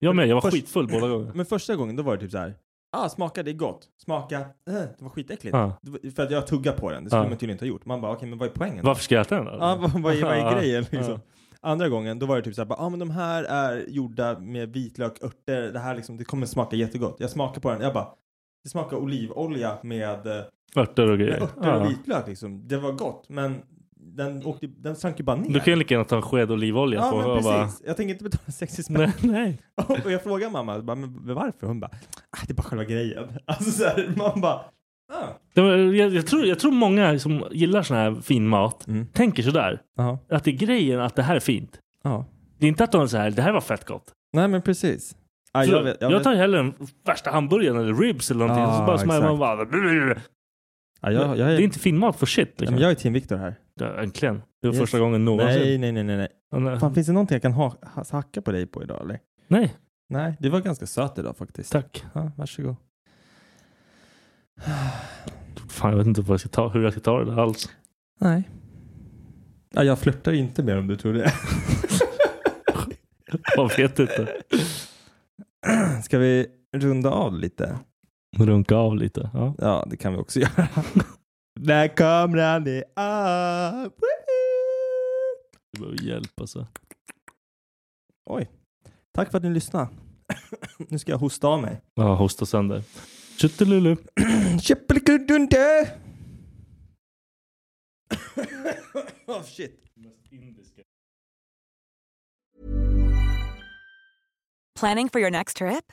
Jag med, jag var Först- skitfull båda gångerna. Men första gången då var det typ så här. Ah, smaka, det är gott. Smaka, eh, det var skitäckligt. Ja. Det var- För att jag tuggade på den, det skulle Ja. man tydligen inte ha gjort. Man bara, okej men vad är poängen? Varför ska jag äta den då? Ja, vad, vad, är, vad är Ja, grejen ja. liksom? Andra gången, då var det typ såhär, ja ah, men de här är gjorda med vitlök, örter, det här liksom, det kommer smaka jättegott. Jag smakar på den, jag bara, det smakar olivolja med, eh, Örter och med grejer. örter och Ja. vitlök liksom. Det var gott, men den, åkte, den sank ju bara ner. Du kan ju lika gärna ta en sked olivolja Ja på men och precis, bara... jag tänker inte betala 60 spänn. Nej, nej. Och jag frågar mamma, bara, men varför? Hon bara, ah, det är bara själva grejen. Alltså såhär, man bara, ah. Det var, jag, jag, tror, jag tror många som gillar sån här fin mat Mm. tänker sådär. Jaha. Att det är grejen att det här är fint. Ja. Det är inte att de är så här, det här var fett gott. Nej men precis. Ah, Så jag tar ju hellre den värsta hamburgaren eller ribs eller någonting. Ja, så bara smäller man exakt. bara... Ja, Ah, jag, jag, är, Det är inte fin mat för shit. ja, Liksom. men jag är team Viktor här. Ja, Äntligen. Det var Yes. första gången någonsin. Nej, nej, nej, nej. nej. Ja, nej. Fan, finns det någonting jag kan ha, ha, hacka på dig på idag eller? Nej. Nej, du var ganska söt idag faktiskt. Tack. Ja, varsågod. Fan, jag vet inte vad jag ska ta, hur jag ska ta det där alls. Nej. Ja, jag flörtar inte mer om du tror det. Jag vet inte. Ska vi runda av lite? Runka av lite. Ja. Ja, det kan vi också göra. När kameran är av. behöver hjälp alltså. Oj. Tack för att ni lyssnade. nu ska jag hosta av mig. Ja, hosta sönder. Tjuttelulu. Käppelikulunte! oh shit. Planning for your next trip?